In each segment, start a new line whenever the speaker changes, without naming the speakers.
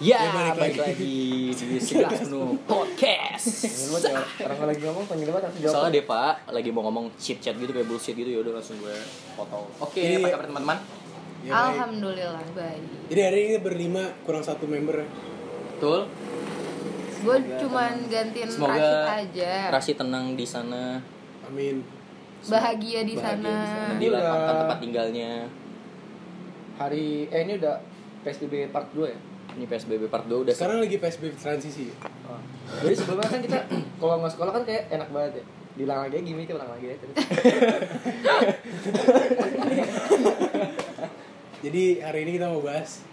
Ya,
Ya, balik
balik lagi di sebelas menu podcast.
Ini buat ya, orang kalau lagi ngomong panggil banget langsung jawab.
Soalnya dia Pak lagi mau ngomong chit chat gitu kayak bullshit gitu ya udah langsung gue potong. Oke,
Iya.
apa kabar teman-teman?
Ya, baik.
Alhamdulillah baik.
Jadi hari ini berlima kurang satu member.
Betul.
Gue cuman gantiin Rashid
Semoga
aja.
Rashid tenang di sana.
Amin.
bahagia di
Bahagia
sana.
di sana.
Dilapangkan
Iya.
tempat tinggalnya.
Hari eh ini udah PSBB part 2 ya.
Ini PSBB part 2 udah
Sekarang lagi PSBB transisi.
Oh. Jadi sebelumnya kan kita kalau nggak sekolah kan kayak enak banget ya. Diulang lagi gini kita ulang lagi ya. Terus.
Jadi hari ini kita mau bahas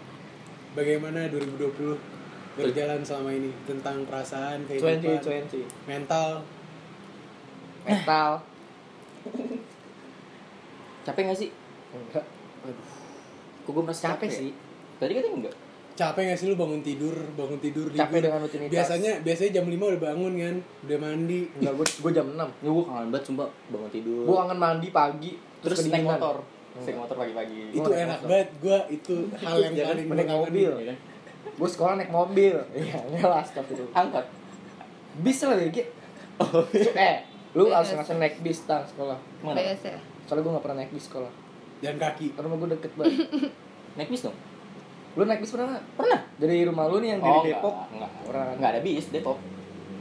bagaimana 2020 berjalan selama ini tentang perasaan,
gitu
kehidupan,
2020
mental.
metal.
capek gak sih?
Enggak.
Kok gue merasa
Capek
ya?
sih.
Tadi katanya enggak.
Capek gak sih lu bangun tidur, bangun tidur
Capek
libur?
dengan rutinitas. Iya,
Biasanya biasanya jam 5 udah bangun kan, udah mandi.
Enggak gue gue jam 6.
Ya gue kangen banget sumpah bangun tidur.
Gue kangen mandi pagi
Terus naik
kedinginan.
motor. Naik motor pagi-pagi.
Itu
naik
enak
motor.
banget gua itu hal yang
Iya kan,
paling gua
naik
kangenin.
mobil.
Iya kan?
Gue sekolah naik mobil. Iya, ngelas tapi itu.
Angkat.
Bis lah lagi. Eh, lu harus
Beres.
langsung naik bis tang sekolah.
Mana?
Beres ya.
Soalnya gue gak pernah naik bis sekolah.
Jalan kaki.
Rumah gue deket banget.
Naik bis dong?
Lu naik bis pernah nggak?
Pernah.
Dari rumah lu nih yang dari
Oh, enggak,
Depok.
Enggak.
Orang.
Enggak ada bis Depok.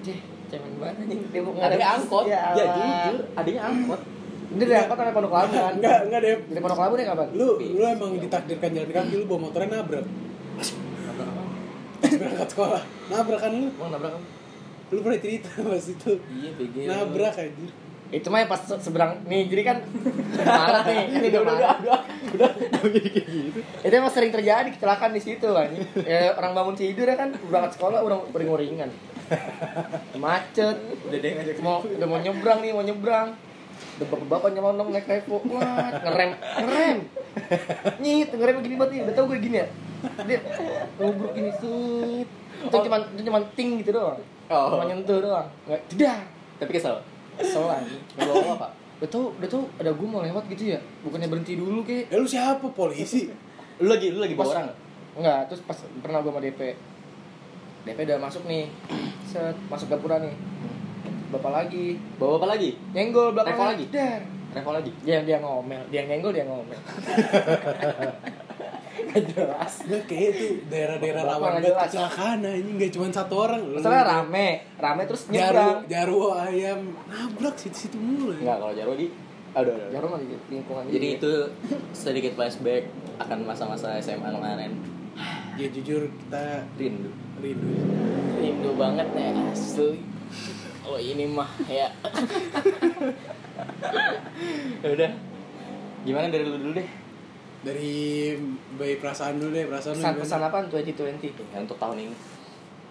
Cih, cemen banget anjing Depok nggak
Adanya
bis.
angkot.
Ya,
Ya, jujur, adanya angkot.
Ini dari angkot sampai Pondok Labu kan?
Enggak, enggak deh.
Dari Pondok Labu naik kapan?
Lu lu emang ditakdirkan jalan kaki lu bawa motornya nabrak. Pas berangkat sekolah. Nabrak kan lu?
Emang nabrak kan?
Lu pernah cerita pas itu.
Iya, BG.
Nabrak aja.
Itu mah yang pas seberang nih, jadi kan marah nih, ini udah marah.
Udah, jadi kayak gitu.
Itu emang sering terjadi kecelakaan di situ lah ini. Ya, orang bangun tidur ya kan, berangkat sekolah orang uring-uringan. Macet,
Udah deh ngajak
mau udah mau nyebrang nih, mau nyebrang. Udah bapak-bapak nyelonong naik revo, wah ngerem, ngerem. Nyit, ngerem begini banget nih, udah tau gue gini ya. Dia ngubruk gini, sut. Itu cuman, itu cuman ting gitu doang.
Oh.
Cuma nyentuh doang. Nggak, dedah.
Tapi kesel.
Kesel lagi.
Bawa apa?
Udah tau, udah tau ada gue mau lewat gitu ya. Bukannya berhenti dulu kek.
Ya lu siapa polisi?
Lu lagi lu lagi bawa
Mas-
orang.
Enggak, terus pas pernah gue sama DP. DP udah masuk nih. Set, masuk gapura nih. Bapak lagi.
Bawa apa lagi?
Nyenggol belakang
Level lagi?
Dar.
Travel lagi.
Dia dia ngomel, dia nyenggol dia ngomel. Gak jelas.
Enggak kayak itu daerah-daerah
Bapak
rawan
nggak
banget
jelas.
kecelakaan anjing enggak cuma satu orang. Lu-
Masalah
Hmm.
rame, rame terus
Jaru,
nyebrang.
jaru ayam nabrak situ-situ mulu.
Iya.
ya.
Enggak, kalau Jarwo lagi. Aduh, aduh, aduh.
Jarum lagi di lingkungan
Jadi
gitu
itu sedikit flashback akan masa-masa SMA kemarin.
Ya jujur kita
Rindu.
rindu.
rindu banget ya asli. Oh ini mah ya.
Ya udah. Gimana dari lu dulu deh?
Dari bayi perasaan dulu deh, perasaan lu gimana?
Pesan-pesan apa 2020?
Ya, untuk tahun ini.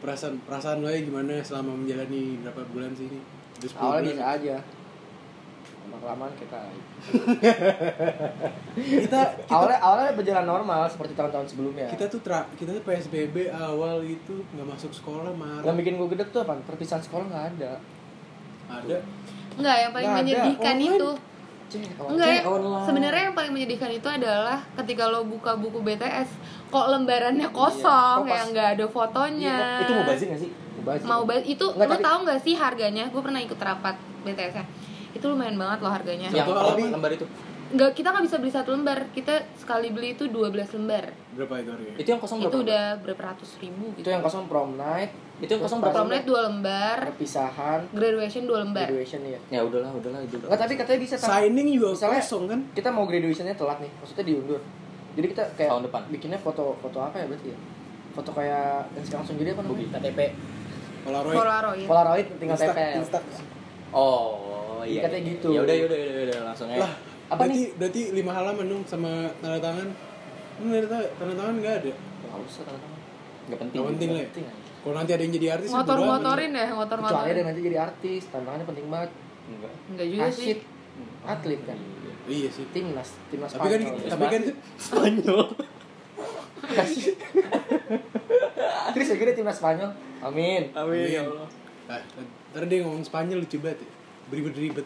Perasaan perasaan lu aja gimana selama menjalani berapa bulan sih ini? Udah 10
Awalnya
bulan.
bisa aja. Lama kelamaan kita
Kita
awalnya awalnya berjalan normal seperti tahun-tahun sebelumnya.
kita tuh tra- kita tuh PSBB awal itu nggak masuk sekolah
yang
marah.
bikin gue gede tuh apa? Perpisahan sekolah nggak ada.
Ada
Enggak, yang paling
Nggak ada,
menyedihkan
online.
itu.
Cek,
Enggak. ya.
online.
Sebenarnya yang paling menyedihkan itu adalah ketika lo buka buku BTS, kok lembarannya kosong,
Kok pas- Iya,
yang nggak ada fotonya.
Itu mau bazir gak sih?
Mau ba- itu
Nggak,
lo
tapi-
tahu nggak sih harganya? Gue pernah ikut rapat BTS-nya. ya. Itu lumayan banget loh harganya.
Ya.
Yang
Satu
apa
hari.
lembar itu?
Nggak, kita nggak bisa beli satu lembar. Kita sekali beli itu 12 lembar.
berapa itu harganya?
Itu yang kosong berapa?
Itu udah berapa ratus ribu
Itu
gitu.
yang kosong prom night,
Itu yang kosong berapa?
Prom night 2 lembar,
perpisahan,
graduation 2 lembar.
graduation ya.
Ya udahlah, udahlah itu.
Enggak Oh, tapi kan- katanya bisa tang-
Signing juga
Misalnya-
kosong kan?
kita mau graduationnya telat nih, maksudnya diundur. Jadi kita kayak
Tahun depan.
bikinnya foto foto apa ya berarti ya? Foto kayak yang sekarang langsung jadi apa namanya?
Bugil.
KTP.
Polaroid.
Polaroid.
Polaroid tinggal
Insta-
tempel.
Insta-
Oh, iya.
Katanya
iya.
gitu.
Ya udah, ya udah, ya udah, ya udah, langsung aja.
lah
apa
berarti,
nih?
berarti lima halaman dong sama tanda tangan Lu tanda, tangan- tanda tangan nggak ada
Enggak usah teman-teman.
Gak penting.
nggak penting lah ya
Penting aja.
kalau nanti ada yang jadi artis ya bodo amat.
Motor-motorin ya,
Kecuali ada
motor-motorin.
yang nanti jadi artis, tantangannya penting banget.
Enggak.
Enggak juga Iya sih.
Asyik atlet kan.
iya sih
Timnas, timnas
tapi kan
Spanyol.
tapi kan
Spanyol.
Terus ya gede timnas Spanyol. Amin.
Amin ya
Amin.
Allah.
Ah, ntar dia ngomong Spanyol lucu banget ya beribet-ribet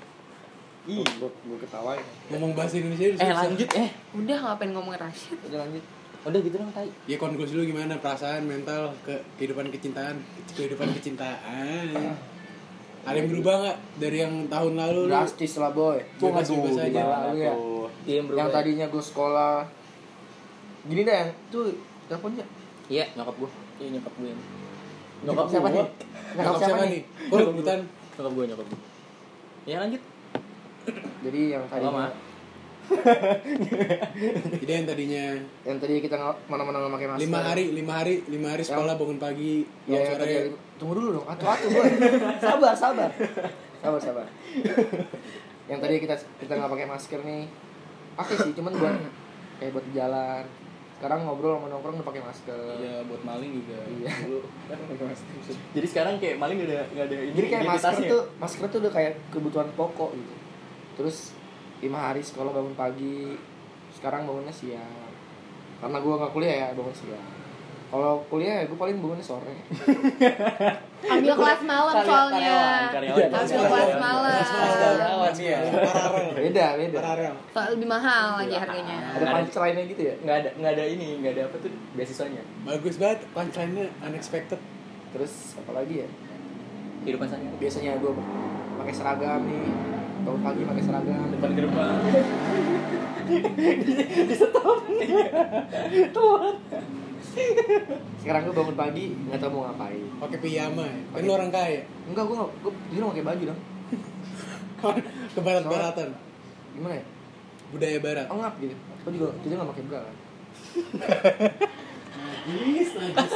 Ih, gua, gua ketawain.
ngomong bahasa Indonesia udah
Eh
susah.
lanjut eh.
Udah ngapain ngomongin Rashid?
Udah lanjut.
Udah gitu dong, tai.
Ya konklusi lu gimana perasaan mental ke kehidupan kecintaan kehidupan kecintaan ada yang berubah nggak dari yang tahun lalu lu?
Ah. drastis lah boy
Tuh,
Bebas-
aduh,
bebas aja.
gimana
Lalu ya
Iya, yang berubah.
yang tadinya gue sekolah gini deh yang tuh teleponnya
Iya, nyokap gue. Iya, nyokap gue.
nyokap siapa
gua.
nih
nyokap siapa nih? Oh rebutan
Nyokap gue, nyokap gue. Ya lanjut.
jadi yang
Lama.
tadinya
jadi yang tadinya
yang tadi kita nggak- mana-mana nggak pakai masker
lima hari lima hari lima hari sekolah bangun pagi
ya,
pulang
yang
sore
tadi tunggu dulu dong atuh atuh boy sabar sabar sabar sabar yang tadi kita kita nggak pakai masker nih pakai sih cuman buat kayak buat di jalan sekarang ngobrol sama nongkrong udah pakai masker
Iya, buat maling juga.
Iya.
Dulu. Jadi sekarang kayak maling gak ada gak ada ini.
jadi kayak masker
identitasnya. ya?
tuh masker tuh udah kayak kebutuhan pokok gitu terus lima hari sekolah bangun pagi sekarang bangunnya siang karena gua nggak kuliah ya bangun siang kalau kuliah ya gue paling bangunnya sore
Ambil kelas malam
Karya-
soalnya.
karyawan, Iya, karyawan. iya.
Ambil kelas malam.
Paralel Paralel
beda beda
Paralel
Soal lebih mahal lagi harganya.
ada punchline-nya gitu ya
nggak ada nggak ada ini nggak ada apa tuh beasiswanya
Bagus banget punchline-nya unexpected
terus apa lagi ya
kehidupan sehari
biasanya gue pakai seragam nih bangun pagi pakai seragam
depan gerbang
sekarang gue bangun pagi nggak tahu mau ngapain
pakai piyama ya. Kan lu orang kaya
enggak gue nggak gue jadi pakai baju dong
Kebarat-baratan
gimana ya
Budaya barat
engap gitu gue juga jadi nggak pakai bra kan
Najis, najis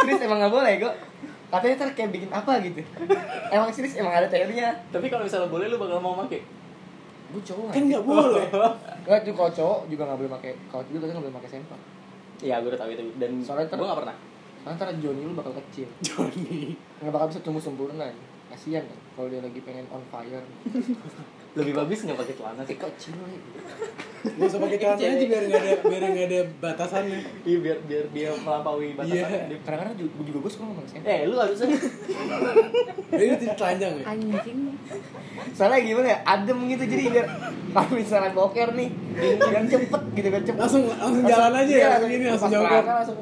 serius emang nggak boleh gue katanya ntar kayak bikin apa gitu emang serius emang ada teorinya
tapi kalau misalnya boleh lu bakal mau pakai
gue cowok
Kan nggak boleh
nggak juga kalau cowok juga nggak boleh pakai kalau juga katanya nggak boleh pakai sempak
ya gue udah tahu itu dan
Soalnya ter-
gue nggak pernah
soalnya ntar Johnny lu bakal kecil
Johnny
nggak bakal bisa tumbuh sempurna ya. kasian kan kalau dia lagi pengen on fire
lebih bagus nggak pakai celana sih
eh kecil nih
Gak usah pakai celana aja biar nggak ada biar nggak ada batasannya.
iya biar biar dia melampaui batasan
Iya.
kadang-kadang juga, juga gue suka ngomong sempak
eh lu harusnya
Jadi itu telanjang ya.
Anjing.
soalnya gimana ya adem gitu jadi biar kalau misalnya boker nih biar cepet gitu kan cepet
Langsung langsung jalan aja ya langsung ini langsung
lepas
jauh.
celana, langsung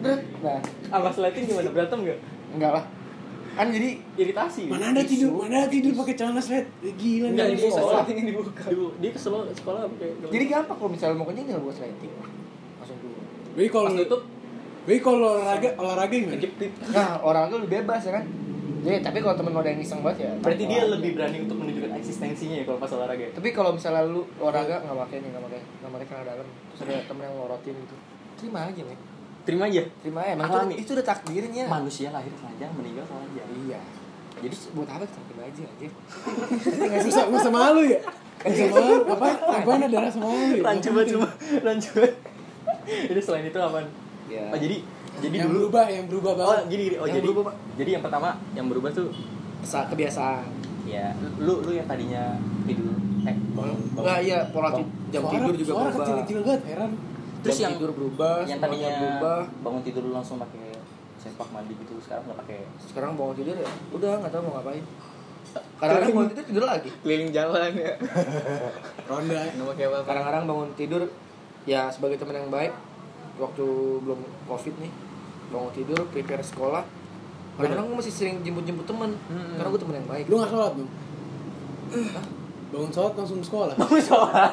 deret. nah
sama sleting gimana berantem nggak
enggak lah kan jadi
iritasi
Mana ada tidur, mana ada tidur pakai celana slet. Gila
Enggak,
nih.
dia sekolah.
Sleting yang dibuka.
Dulu, dia ke sekolah, sekolah pakai
jadi gampang kalau misalnya mau kencing tinggal buat sliding langsung dulu
Jadi kalau
pas tutup
jadi kalau olahraga olahraga gimana?
ngejepit
nah orang tuh lebih bebas ya kan jadi tapi kalau temen lo ada yang iseng banget ya
berarti dia
orang
lebih
aja.
berani untuk menunjukkan eksistensinya ya kalau pas olahraga
tapi kalau misalnya lu olahraga nggak pakai nih nggak pakai nggak pakai celana dalam terus ada temen yang lorotin gitu terima aja nih
terima aja
terima aja emang itu,
Alami.
itu udah takdirnya
manusia lahir telanjang meninggal telanjang
iya jadi buat apa kita pakai baju aja Ngerti nggak sih?
Masa masa malu ya? Masa malu apa? Apaan ada rasa malu? ya?
rancu banget cuma rancu banget jadi selain itu aman
Ya.
oh jadi jadi
Yang
dulu
berubah, yang berubah
oh
banget.
gini, gini. oh
Yang
jadi
berubah, Pak.
jadi yang pertama yang berubah tuh
Sa- kebiasaan
ya lu lu yang tadinya tidur eh bangun bangun.
Enggak iya pola ti- jam
Suara-
tidur juga
suara
berubah.
kecil-kecil banget, heran.
terus
jam
yang
tidur berubah,
yang
semuanya
tadinya
berubah.
bangun tidur lu langsung pakai sempak mandi gitu sekarang nggak pakai
Sekarang bangun tidur ya udah nggak tahu mau ngapain. Kadang-kadang bangun tidur tidur lagi.
keliling jalan ya
Ronda.
nggak pakai apa
Kadang-kadang bangun tidur ya sebagai teman yang baik waktu belum covid nih bangun tidur prepare sekolah kadang-kadang gue masih sering jemput-jemput temen
Hmm.
karena gue temen yang baik
Lu nggak sholat dong? Bangun sholat langsung sekolah.
kamu sholat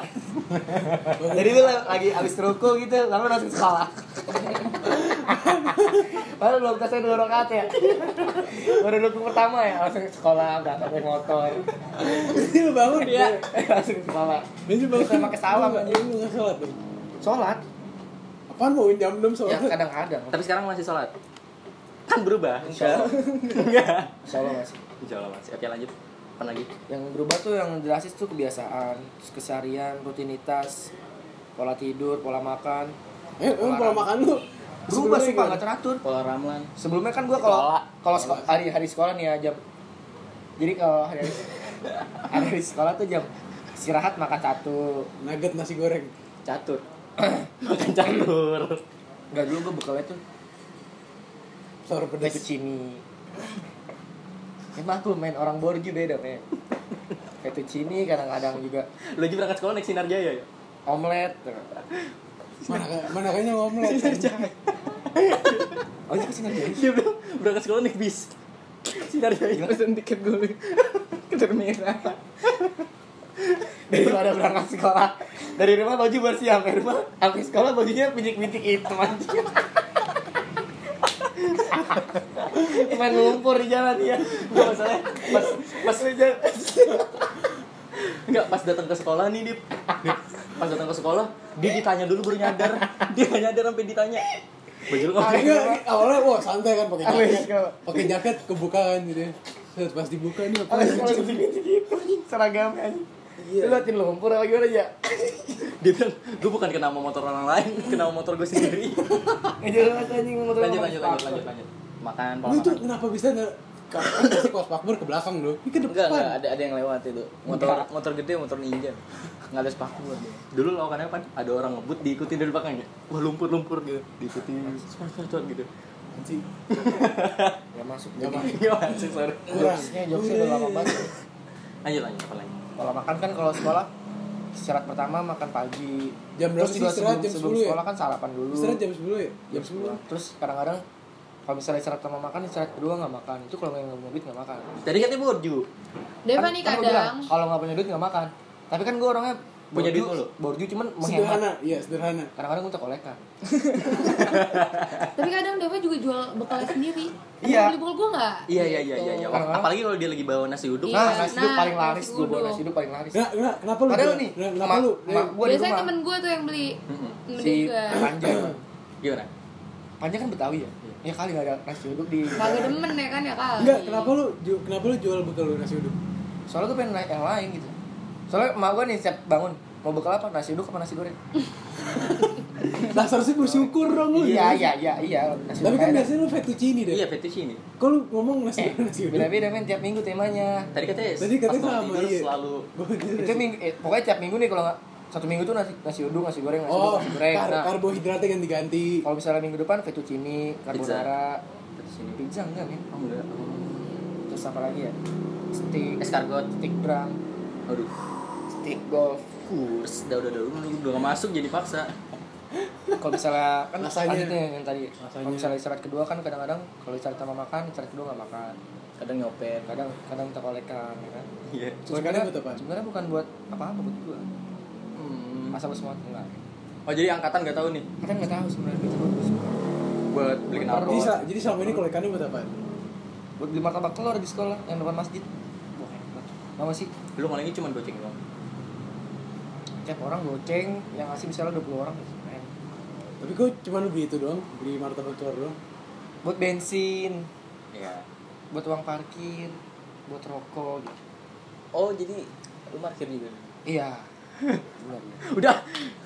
jadi gue lagi abis ruko gitu lalu langsung sekolah Padahal belum selesai dua rakaat ya Baru rukun pertama ya Langsung sekolah, gak pakai motor
Jadi lu bangun ya.
Langsung sekolah
Jadi bangun
Sama pakai iya. salam,
Lu nggak-
anjing.
Lu nggak sholat dong?
Sholat?
Apaan mau jam 6
Ya
sholat?
kadang-kadang
tapi sekarang masih sholat kan berubah
Insya Allah.
enggak
Sholat masih
insya Allah masih oke lanjut apa lagi
Yang berubah tuh yang drastis tuh kebiasaan Terus keseharian, rutinitas Pola tidur, pola makan
Eh, emang pola makan lu
Berubah
sebelumnya
sumpah
gimana?
gak teratur
pola ramlan
Sebelumnya kan gue kalau
Sekolah.
kalau seko- hari-hari sekolah nih ya jam Jadi eh, kalau hari-hari hari sekolah tuh jam istirahat makan satu
Nugget nasi goreng.
catur makan catur
Enggak dulu gue bekalnya tuh
Sahur
Nasi
pedas.
cini Ya maklum main orang ya, borju beda men Fettuccine kadang-kadang juga
lu aja berangkat sekolah naik sinar jaya ya
omelet
Mana mana kayaknya ngomlet.
Oh itu kesini aja.
Dia belum berangkat sekolah naik bis. Sinar jaya. Pesan tiket gue. Ke terminal.
daripada berangkat sekolah dari rumah baju bersih sampai rumah sampai sekolah bajunya pintik-pintik hitam anjing main lumpur di jalan ya
Enggak masalah. Pas
pas di jalan
enggak pas datang ke sekolah nih, Dip. Dip, Pas datang ke sekolah, dia ditanya dulu baru nyadar. Dia nggak nyadar sampai ditanya. Baju lu
Ah,
kok-
enggak, awalnya wah santai kan pakai
Apa ya,
jaket.
Kak?
Pakai jaket kebuka kan gitu. ya. Set, Pas dibuka nih apa?
sampai sekolah pintik-pintik hitam anjing seragamnya anjing
Iya.
lu liatin lumpur apa gimana ya
Dia bilang, gue bukan kena sama motor orang lain, kena sama motor gue sendiri.
ngejar banget anjing motor
Lanjut,
sama
lanjut,
sepatu.
lanjut, lanjut, lanjut. Makan, pola
Lu tuh
makan.
kenapa bisa nggak kan pasti kelas makmur ke belakang lu? Ini ke
Enggak, enggak,
depan.
ada ada yang lewat itu. Motor motor gede, motor ninja. Enggak ada sepakul dia. Dulu lawakannya kan ada orang ngebut diikutin dari belakang ya. Wah, lumpur-lumpur gitu. Diikutin cuat gitu.
Anjing.
ya masuk
Nggak
jadi
masuk.
Iya, anjing, sorry.
Kurang.
jokesnya jokesnya udah lama banget
Lanjut lanjut apa lagi?
kalau makan kan kalau sekolah syarat pertama makan pagi
Jam berapa
Terus
sih
juga
istirahat?
sebelum-
Jam 10
sebelum
ya?
sekolah kan sarapan dulu
Istirahat jam 10 ya? Jam 10.
terus kadang-kadang kalau misalnya istirahat pertama makan istirahat kedua nggak makan itu kalau nggak punya duit nggak makan
Tadi katanya borju.
Deva
Kan-
nih
kan gua bilang,
kadang
kalau nggak punya duit nggak makan tapi kan gue orangnya
Punya
borju-
duit mulu?
borju cuman menghemat
Sederhana, iya sederhana.
kadang-kadang gue terkolekan
tapi kadang Deva juga jual bekalnya sendiri
Iya.
beli bukul gue nggak
Iya iya iya iya iya.
Gitu.
Wah, Apalagi kalau dia lagi bawa nasi uduk.
Iya,
nah nasi uduk
nah,
paling
nasi
laris gue bawa
uduk.
nasi uduk paling laris
Enggak, enggak, kenapa lu?
padahal
jual?
nih
kenapa
mak
lu? Eh,
mak gue di
biasanya
rumah
temen gue tuh yang beli
si
menduga
panjang
Gimana?
panjang kan betawi ya ya kali nggak ada nasi uduk di
kagak demen ya kan ya kali
Enggak, kenapa lu ju- kenapa lu jual bekal lu nasi uduk?
soalnya gue pengen naik yang lain gitu soalnya emak gue nih setiap bangun mau bekal apa nasi uduk apa nasi goreng
Dasar sih bersyukur dong lu.
iya
ya.
iya iya iya nasi
Tapi
uduk
kan
enak.
biasanya lu fettuccine deh.
Iya, fettuccine.
Kok lu ngomong nasi
eh
uduk nasi uduk?
beda-beda men tiap minggu temanya
Tadi kan katanya
Tadi
pas
katanya
bangun
sama,
tidur
iya.
selalu
itu minggu eh, pokoknya tiap minggu nih kalau nggak satu minggu tuh nasi nasi uduk nasi goreng nasi
Oh,
uduk, nasi goreng
kar
Nah,
karbohidratnya ganti-ganti.
kalau misalnya minggu depan fettuccine carbonara
fettuccine.
pizza enggak men
Oh enggak.
terus apa lagi ya steak
Escargot.
steak brang
Aduh.
steak golf
Kurs, udah udah udah udah nggak masuk jadi paksa.
kalau misalnya kan
Rasanya.
lanjutnya yang, yang tadi kalau
Rasanya.
misalnya istirahat kedua kan kadang-kadang kalau istirahat sama makan istirahat kedua nggak makan
Kadang nyopet.
kadang kadang minta kolekan ya kan
Iya.
Itu
Kolekannya
sebenarnya-
buat apa?
sebenarnya bukan buat apa-apa buat gua
Hmm.
masa lu semua enggak
Oh jadi angkatan gak tahu nih
kita kan nggak tahu sebenarnya itu buat gua semua
buat beli kenapa?
Jadi, sa- jadi selama ini kolekannya buat apa?
buat beli martabak telur di sekolah yang depan masjid Wah, enak. Lama sih
Lu malingnya cuma goceng doang.
tiap orang goceng yang ngasih misalnya 20 orang keren.
Tapi kok cuma beli itu doang, beli martabak telur doang.
buat bensin
Iya.
buat uang parkir buat rokok gitu.
Oh jadi lu markir juga.
iya Benar, ya.
Udah.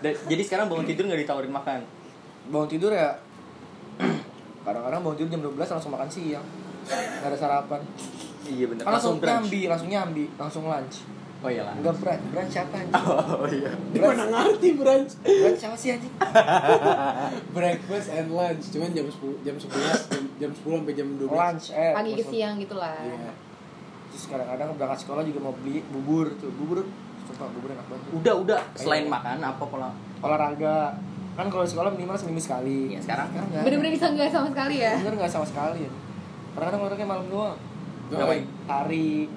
Da- jadi sekarang bangun tidur nggak ditawarin makan.
bangun tidur ya kadang-kadang bangun tidur jam 12 langsung makan siang nggak ada sarapan
Iya bener.
Kan langsung,
brunch.
nyambi langsung nyambi langsung lunch
Oh iya lah.
enggak brunch brunch siapa anjing
Oh iya.
Di mana ngerti brunch?
brunch siapa sih anjing
Breakfast and lunch, cuman jam 10 jam 11 jam, jam 10 sampai jam 12.
lunch eh
pagi ke
langsung-
siang gitu lah
Iya.
terus kadang-kadang berangkat sekolah juga mau beli bubur tuh bubur sumpah bubur enak banget tuh.
Udah udah. Selain makan apa pola?
olahraga kan kalau di sekolah minimal seminggu sekali
Iya, sekarang?
sekarang nggak
bener-bener bisa nggak sama sekali ya
bener nggak sama sekali kadang-kadang olahraganya malam doang
Ngapain?
tarik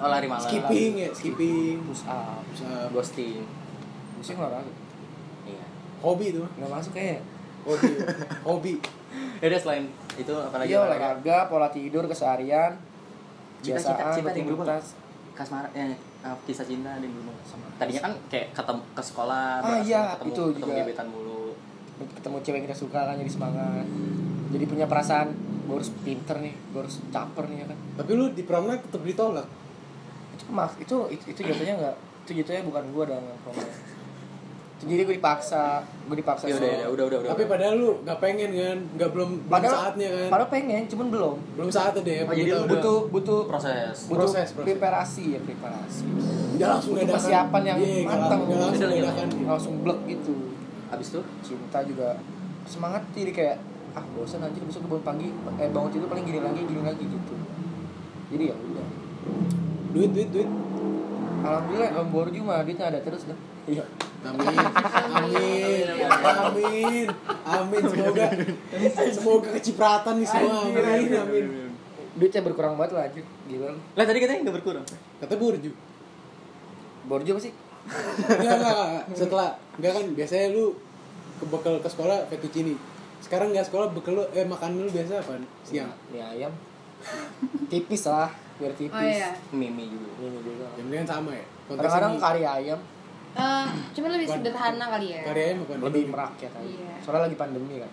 Oh lari malam. Eh,
Skipping ya, skipping.
push up
Bisa-
Ghosting.
mesti ah, olahraga
Iya.
Hobi itu. mah.
nggak masuk eh. kayaknya
Hobi. Hobi.
Ya udah selain itu apalagi?
Iya olahraga, pola tidur keseharian,
Cita-cita-
biasaan,
cita di berubah.
rutinitas.
Kasmara eh eh, kisah cinta di gunung sama. Tadinya kan kayak ketemu ke sekolah,
Ah,
berasa
iya,
ketemu,
itu
ketemu
juga.
gebetan mulu.
ketemu cewek yang kita suka kan jadi semangat. Jadi punya perasaan gue harus pinter nih, gue harus caper nih ya kan.
Tapi lu di prom night tetap ditolak.
Itu mas, itu itu, itu jatuhnya nggak, itu jatuhnya bukan gue dong yang promonya. Itu Jadi gue dipaksa, gue dipaksa.
Ya
sama-
udah, ya udah, udah, udah.
Tapi padahal lu nggak pengen kan, nggak belum belum
Padahal-
saatnya kan.
Padahal pengen, cuman belum.
Belum saatnya deh.
Oh, jadi lu
udah-
Butuh butuh
proses.
butuh
Proses, proses.
preparasi ya preparasi.
udah langsung
butuh
dadakan.
persiapan yang
Iya, nggak lang-
matang.
nggak langsung
Udah, udah,
dadakan.
Langsung blek gitu.
Abis itu
cinta juga semangat jadi kayak ah bosan anjir besok bangun pagi eh bangun tidur paling gini lagi gini lagi gitu jadi ya udah
Duit duit duit.
alhamdulillah om baru juga duitnya ada terus dah
Iya. Amin. Amin. Amin. Amin. Semoga semoga kecipratan nih semua. Amin. Amin.
Duitnya berkurang banget lah anjir. Gila. lu.
Lah tadi katanya nggak berkurang.
Kata borju.
Borjo apa sih?
Enggak, enggak, enggak. Setelah enggak kan biasanya lu ke bekal ke sekolah fettuccine. Sekarang enggak sekolah bekal lu eh makan lu biasa apaan? Siang.
Mie ayam. Tipis lah, biar tipis.
Oh iya.
Mimi juga.
Mie juga.
Jam dengan sama ya.
Kadang-kadang kan- kari ayam
Eh, cuman lebih sederhana kali ya.
karya apa?
lebih merakyat aja.
Iya.
Soalnya lagi pandemi kan.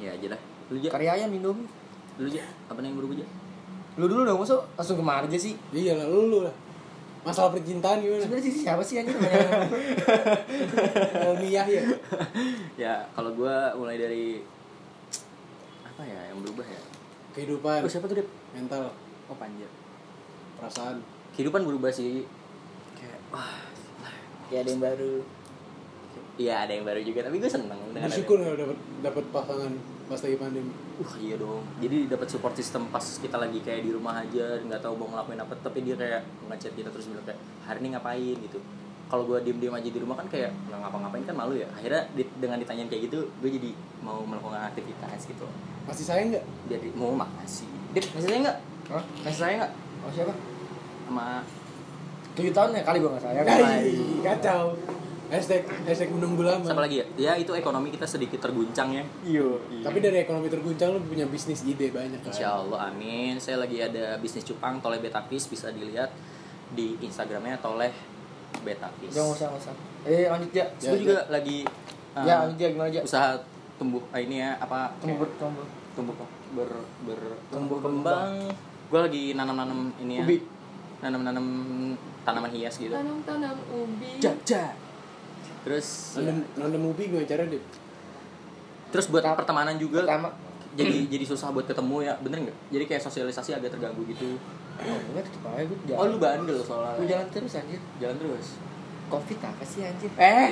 Ya aja lah. Lu aja,
Kari ayam Indomie.
lu aja. Apa yang berubah aja?
Lu dulu dong, masuk langsung kemari aja sih.
Iya lah lu lu lah. Masalah percintaan gimana?
Sebenarnya sih siapa sih anjir? Banyak-
Almiah ya.
Ya kalau gua mulai dari apa ya yang berubah ya?
Kehidupan,
Lu siapa tuh Dep?
mental,
Oh Panjer.
perasaan.
Kehidupan berubah sih. Kayak wah.
Ya ada yang baru.
Iya ada yang baru juga tapi gue seneng dengan ada-
Bersyukur kalau dapat dapat pasangan pas lagi pandemi.
Wah iya dong. Jadi dapat support system pas kita lagi kayak di rumah aja, nggak tahu mau ngelakuin apa, tapi dia kayak ngechat kita terus bilang kayak hari ini ngapain gitu. Kalau gue diem-diem aja di rumah kan kayak nggak ngapa-ngapain kan malu ya. Akhirnya di- dengan ditanyain kayak gitu, gue jadi mau melakukan aktivitas gitu.
Masih sayang enggak?
Jadi mau makasih. Dip, kasih saya nggak?
Hah?
Kasih saya nggak?
Oh siapa?
Sama
7 tahun ya kali gua enggak
Oh
sayang.
Hai, kacau. Hashtag, hashtag menunggu
siapa
lama.
lagi ya? Ya itu ekonomi kita sedikit terguncang ya.
Iyo.
Tapi dari ekonomi terguncang lu punya bisnis ide banyak kan?
Insya Allah, amin. Saya lagi ada bisnis cupang Toleh Betapis bisa dilihat di Instagramnya Toleh Betapis.
Jangan usah, enggak usah. Eh, lanjut ya.
Terus gue juga lagi uh,
Ya, lanjut ya gimana aja?
usaha tumbuh ah, ini ya apa
Tumbuh, tumbuh.
tumbuh ber ber tumbuh kembang. Gue lagi nanam-nanam ini ya.
Ubi.
Nanam-nanam tanaman hias gitu.
Tanam-tanam ubi.
Jaja. Terus ya.
Nonton nonton movie gimana cara deh?
terus buat pertemanan juga
Pertama,
jadi jadi susah buat ketemu ya, bener nggak? Jadi kayak sosialisasi agak terganggu gitu.
oh, gue tetep aja gue jalan.
Oh lu bandel
Gue
soalnya.
jalan terus anjir.
Jalan terus.
Covid apa sih anjir?
Eh,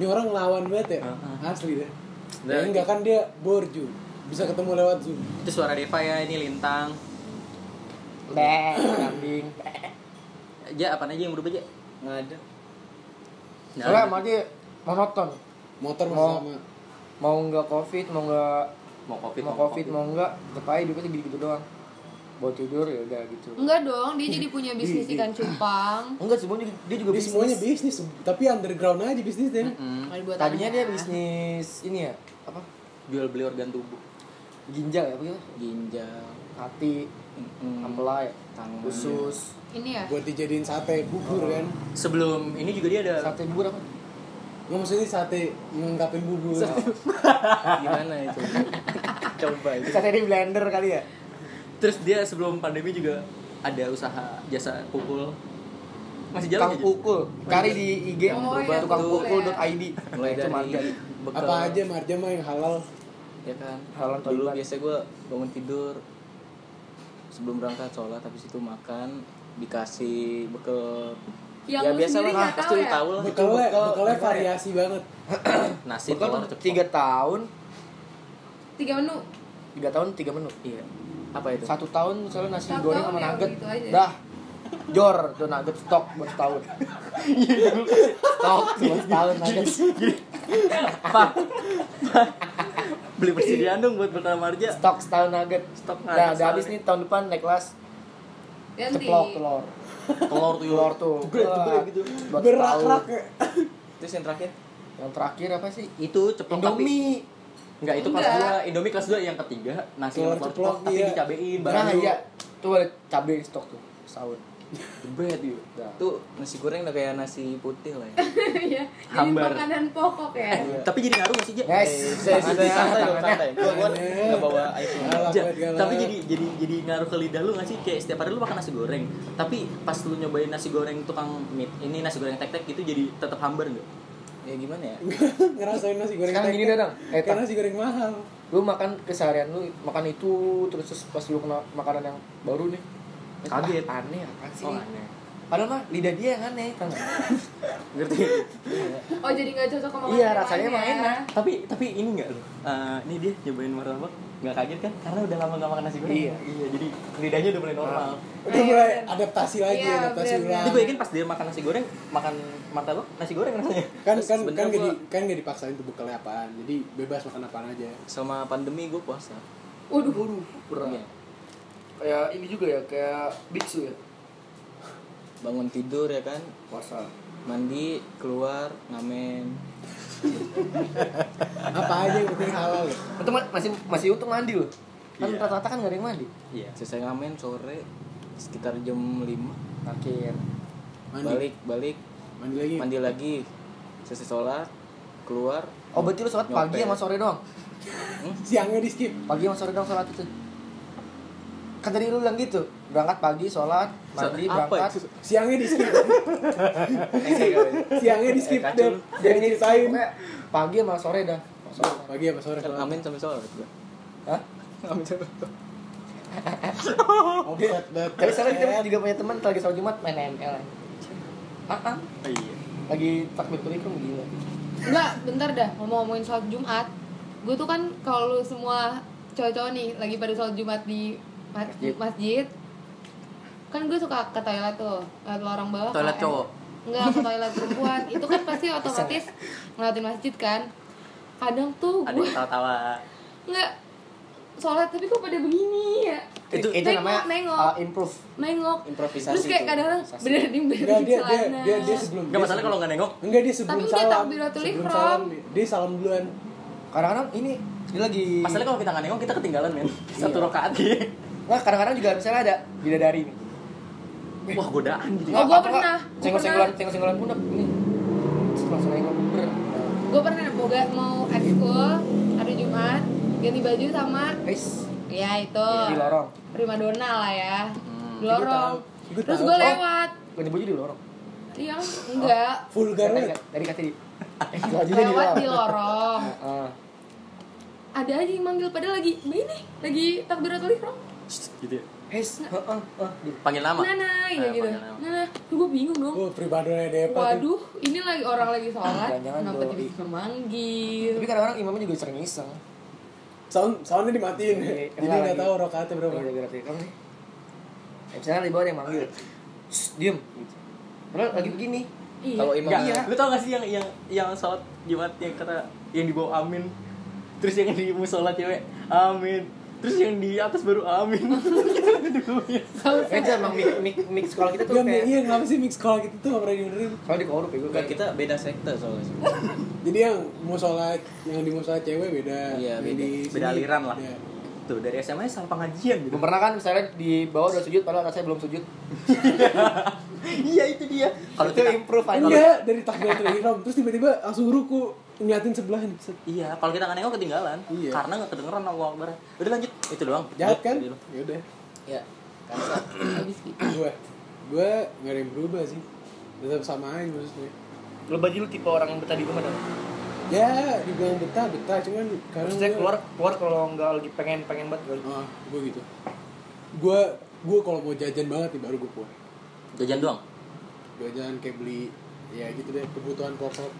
Ini orang lawan banget ya,
Heeh.
asli deh.
Uh-huh. Dan-
Ya enggak kan dia borju, bisa ketemu lewat zoom.
itu suara Deva ya, ini lintang.
Beh, kambing.
Ja, apa aja yang berubah aja?
Enggak ada.
Nah,
Soalnya sama aja monoton.
Motor masih
Oh.
Mau-
sama.
Mau enggak Covid, mau enggak
mau covid,
mau Covid, mau enggak tetep aja hidupnya gitu-gitu doang. Buat tidur ya udah gitu.
Enggak dong, dia jadi punya bisnis ikan cupang.
Enggak semuanya dia juga
Jadi
bisnis.
semuanya bisnis, tapi underground aja bisnisnya.
Mm,
Kalau dibuat ya.
Tadinya dia
tanah.
bisnis ini ya, apa?
jual beli organ tubuh,
Ginjal ya, apa gitu?
ginjal,
Hati, ampela ya,
tangan.
usus,
Ini ya.
Buat dijadiin sate bubur kan.
Sebelum ini juga dia ada
sate bubur apa?
Nggak maksudnya sate mengungkapin bubur.
gimana itu? Coba itu.
Sate di blender kali ya?
Terus dia sebelum pandemi juga ada usaha jasa pukul. Masih jalan ya,
Tukang
nggak, Ja?
pukul, cari di IG
Oh,
berubah
iya,
tukangpukul.id.
Mulai
Itu marga.
dari bekal,
Apa aja marja mah yang halal.
ya kan.
Halan
Dulu
Taliban.
biasa gue bangun tidur sebelum berangkat sholat habis itu makan dikasih bekal
Yang
ya
lu
biasa
sendiri
lah
nggak
pasti
tahu
lu
ya?
tahu lah itu
Bekalnya,
bekal
bekalnya variasi banget.
nasi
Bekal
telur
tuh
cepot.
tiga tahun,
Tiga menu.
tiga tahun tiga menu.
iya apa itu
Satu tahun misalnya nasi
Satu
goreng
tahun
sama
ya,
nugget,
gitu aja.
dah. Jor, tuh nugget stok buat setahun. Stok buat setahun nugget.
Pak. Beli persediaan dong buat bekal marja.
Stok setahun nugget.
Stok nugget
Nah, udah
setahun.
habis nih tahun depan naik kelas
Ganti.
ceplok telur.
Telur tuh. gitu.
Telur tuh. Wah, buat
Berak-rak.
setahun.
ya.
Terus yang terakhir?
Yang terakhir apa sih?
Itu ceplok tapi
Indomie.
enggak itu kelas
Enggak.
2, Indomie kelas 2 yang ketiga nasi
Telur
telur ceplok,
ceplok,
tapi
iya.
dicabein
Nah,
baru.
iya. Tuh ada cabai stok tuh iya. setahun.
Jebret yuk. Tuh nasi goreng udah kayak nasi putih lah ya.
Iya. Jadi
Hambar.
makanan pokok ya.
tapi jadi ngaruh gak sih, Ja?
Yes, saya sudah
iya. santai dong,
tangannya.
santai. Gua gua enggak bawa iPhone.
Galak
Ja,
banget, galak.
tapi jadi jadi jadi ngaruh ke lidah lu gak sih? Kayak setiap hari lu makan nasi goreng, tapi pas lu nyobain nasi goreng tukang mie, ini nasi goreng tek-tek gitu jadi tetap hambar enggak? Ya gimana ya?
Ngerasain nasi goreng.
Sekarang gini
tek-tek.
dadang. Eh,
Kayak
tak.
nasi goreng mahal.
Nah,
Lu makan keseharian lu makan itu terus, terus pas lu kena makanan yang baru nih.
Kaget.
Ah, aneh apa sih?
Oh,
ini?
aneh.
Padahal mah lidah dia yang aneh, kan?
Ngerti?
Oh, jadi nggak cocok sama
Iya,
makanan
rasanya
yang
emang
lain ya.
enak.
tapi tapi ini enggak loh Eh ini dia nyobain martabak nggak kaget kan karena udah lama nggak makan nasi goreng
Iya.
iya jadi lidahnya udah mulai normal
Ah. Udah mulai adaptasi lagi,
Iya,
adaptasi
bener.
ulang. Kan,
Tapi gue yakin pas dia makan nasi goreng, makan martabak, nasi goreng rasanya.
Kan
Terus
kan
sebentar
kan gak,
gua,
di- kan gak dipaksain tuh bekalnya apaan. Jadi bebas makan apaan aja.
selama pandemi gue puasa.
Waduh.
Waduh, berat.
Iya.
Kayak ini juga ya, kayak biksu ya.
Bangun tidur ya kan,
Puasa.
mandi, keluar, ngamen.
Apa aja yang penting halal ya.
Itu ma- masih masih untung mandi loh. Kan
Iya.
rata-rata kan gak ada yang mandi.
Iya. Selesai ngamen sore sekitar jam 5
Akhir.
Mandi.
balik balik
Mandi lagi.
mandi lagi selesai sholat keluar
Oh berarti lu sholat pagi
Nyopet.
sama sore doang?
Siangnya di skip.
Pagi sama sore doang sholat itu? Kan tadi lu bilang gitu, berangkat pagi, sholat, mandi,
Apa ya?
berangkat.
itu?
Siangnya di skip.
Eh,
Siangnya di skip
kacau
deh.
lu.
Jangan ceritain.
Pokoknya pagi sama sore dah. Sama sore.
Pagi apa sore?
Kan ngamen sampai sholat gua.
Hah?
Ngamen sampai sholat.
Offset banget.
Tapi sekarang kita juga punya teman lagi sholat Jumat main ML. Ah, ah.
Iya.
lagi takbir tulikum gila.
Enggak, bentar dah. Ngomong-ngomongin sholat Jumat. Gue tuh kan kalau lu semua cowok-cowok nih lagi pada sholat Jumat di ma-
Masjid.
masjid. Kan gue suka ke toilet tuh, lewat lorong bawah.
Toilet
KM.
cowok.
Enggak, ke toilet perempuan. Itu kan pasti otomatis ngeliatin masjid kan. Kadang tuh
Ada
gue
yang tawa-tawa.
enggak sholat tapi kok pada begini ya.
Itu itu
Nengok,
namanya
nengok.
uh, improve.
Nengok.
Improvisasi.
Terus kayak
tuh.
kadang-kadang bener di
Enggak dia
bener di
dia
celana.
dia dia
Enggak
sebelum. dia
masalah
sebelum-
kalau nggak nengok.
Enggak dia sebelum
Tapi udah
salam.
takbiratul
Sebelum
ihram.
salam dia salam duluan.
Kadang-kadang ini dia lagi
Masalahnya kalau kita nggak nengok kita ketinggalan men. Satu rokaat gitu.
Nah, kadang-kadang juga misalnya ada bidadari nih.
Wah godaan gitu.
Oh, gua pernah. Gua
Senggol-senggolan,
pernah.
senggol-senggolan pundak ini. Terus Langsung nengok ber.
gue pernah mau ga- mau ekskul hari Jumat ganti baju sama
Guys,
ya itu
Iya, di lorong.
primadona lah ya
Ikut
di lorong
tahu, ikut
terus
tahu.
gue
Oh.
lewat
Ganti baju di lorong.
iya enggak
Vulgar
Dari
banget.
dari kata di. Bajunya
lewat di lorong
Heeh.
ada aja yang manggil padahal lagi ini lagi takbiratul ihram
Gitu ya.
Guys, heeh, heeh. di-
Panggil nama.
nana
Eh,
ya gitu
panggil nama.
nana gue bingung dong
Oh, pribadona Depa. tuh.
waduh ini lagi orang lagi sholat
Jangan-jangan
kenapa
doi.
tiba-tiba manggil
Tapi kadang-kadang imamnya juga sering iseng.
Sound soundnya dimatiin.
Iya, iya.
Jadi enggak
Lagi.
tahu rakaatnya berapa.
Gara-gara tadi kamu nih. Eh, Misalnya di bawah ada yang manggil. Shh, diem. gitu. Padahal lagi begini.
iya
Kalau imam
Enggak, lu tau gak sih yang yang yang sholat Jumat yang kata yang di bawah amin, terus yang di musola cewek amin, terus yang di atas baru amin.
Eh, itu emang mik mik mik sekolah kita tuh
Jam
kayak.
iya kenapa sih mix call gitu tuh gak pernah diundurin
Soalnya di korup ya gue.
Enggak kita beda sekte soalnya.
Jadi yang musola yang di musola cewek beda.
Iya,
Yang
beda.
di
Beda
sini,
aliran lah.
iya.
Tuh dari SMA nya salah pengajian gitu.
Belum pernah kan misalnya di bawah udah sujud padahal saya belum sujud.
iya itu dia. Kalau
Itu
kita
improve aja.
Enggak, Kan dari takbiratul ihram terus tiba-tiba langsung ruku ngeliatin sebelah nih. set.
Iya, kalau kita nggak nengok ketinggalan,
Iya.
karena nggak kedengeran Allah Akbar. Udah lanjut, itu doang.
Jahat kan?
Iya.
Tadi lu.
Ya udah.
ya kan
habis gitu
Gua gua nggak ada yang berubah sih. Tetap sama aja maksudnya.
Lo baju lu tipe orang yang betah di rumah dong.
Ya, dibilang betah, betah cuman karena
Maksudnya
gua-
keluar keluar kalau nggak lagi pengen pengen banget kali.
Ah, gua gitu. Gua gua kalau mau jajan banget nih baru gua keluar.
Jajan doang.
Jajan kayak beli ya gitu deh kebutuhan pokok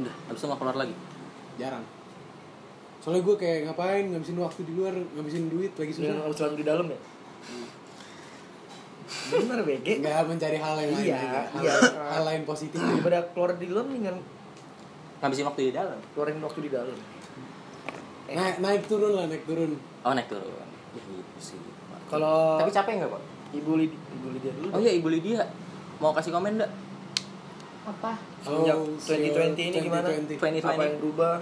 Udah, habis itu nggak keluar lagi.
jarang. Soalnya gue kayak ngapain ngabisin waktu di luar, ngabisin duit lagi susah.
Sudah nggak selalu di dalam ya. Bener BG.
Nggak mencari hal yang lain
Iya,
aja. Hal,
iya. Eh.
hal lain positif.
Daripada keluar di dalam dengan
Ngabisin waktu di dalam.
keluarin waktu di dalam.
Naik, Nah, naik turun lah, naik turun.
Oh naik turun. Ya gitu sih.
Kalau
Tapi capek nggak pak?
ibu Lid ibu Lydia dulu.
Oh iya Ibu Lydia mau kasih komen nggak?
apa
Semenjak
Oh,
2020 ini gimana?
2020.
Apa yang berubah?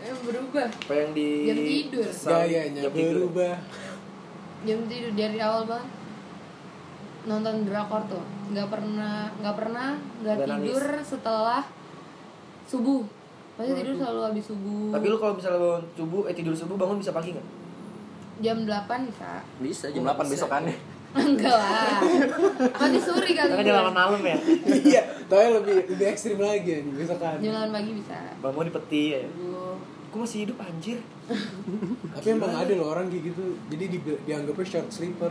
Eh, berubah
Apa yang di
Jam tidur.
Gayanya berubah.
jam tidur dari awal banget nonton drakor tuh nggak pernah nggak pernah nggak
Nggak nangis.
tidur setelah subuh pasti tidur selalu habis subuh
Tapi lu kalau misalnya bangun subuh eh tidur subuh bangun bisa pagi nggak?
jam 8 bisa
Oh, Bisa jam 8 besok kan. aneh.
enggak lah pasti sore kali
Karena
gua.
jalan malam ya.
Iya, tapi lebih lebih ekstrim lagi anjing besok kan.
jam 8 pagi bisa
Bangun di peti ya.
Gua-
Gue masih hidup anjir.
Tapi emang ada loh orang kayak gitu. Jadi di, dianggapnya short sleeper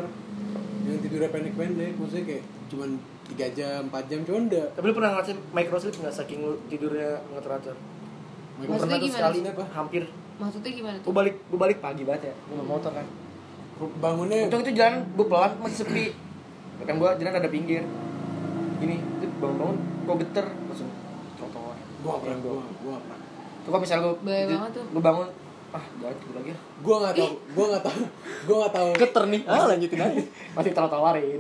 yang tidurnya pendek-pendek, maksudnya kayak cuman 3 jam, 4 jam, cuman udah
Tapi lu pernah ngerasain micro sleep nggak saking lu tidurnya nggak teratur? Gua
Maksudnya
pernah tuh
gimana
sekali
sih? Apa?
hampir
maksudnya gimana
Gue
tuh
balik, gue balik pagi banget ya, gue bawa motor kan
bangunnya
Untung itu jalan gue pelan, masih sepi Kan gue jalan ada pinggir Gini, itu bangun-bangun, gue geter Langsung trotoar
gua nggak pernah gua gua nggak pernah
Tuh kalau misalnya gue
Bahaya banget tuh.
Gue bangun, ah jalan gue lagi ya
gua nggak tahu gua nggak tahu gua nggak tahu
Keter nih. Ah, lanjutin aja.
Masih trotoarin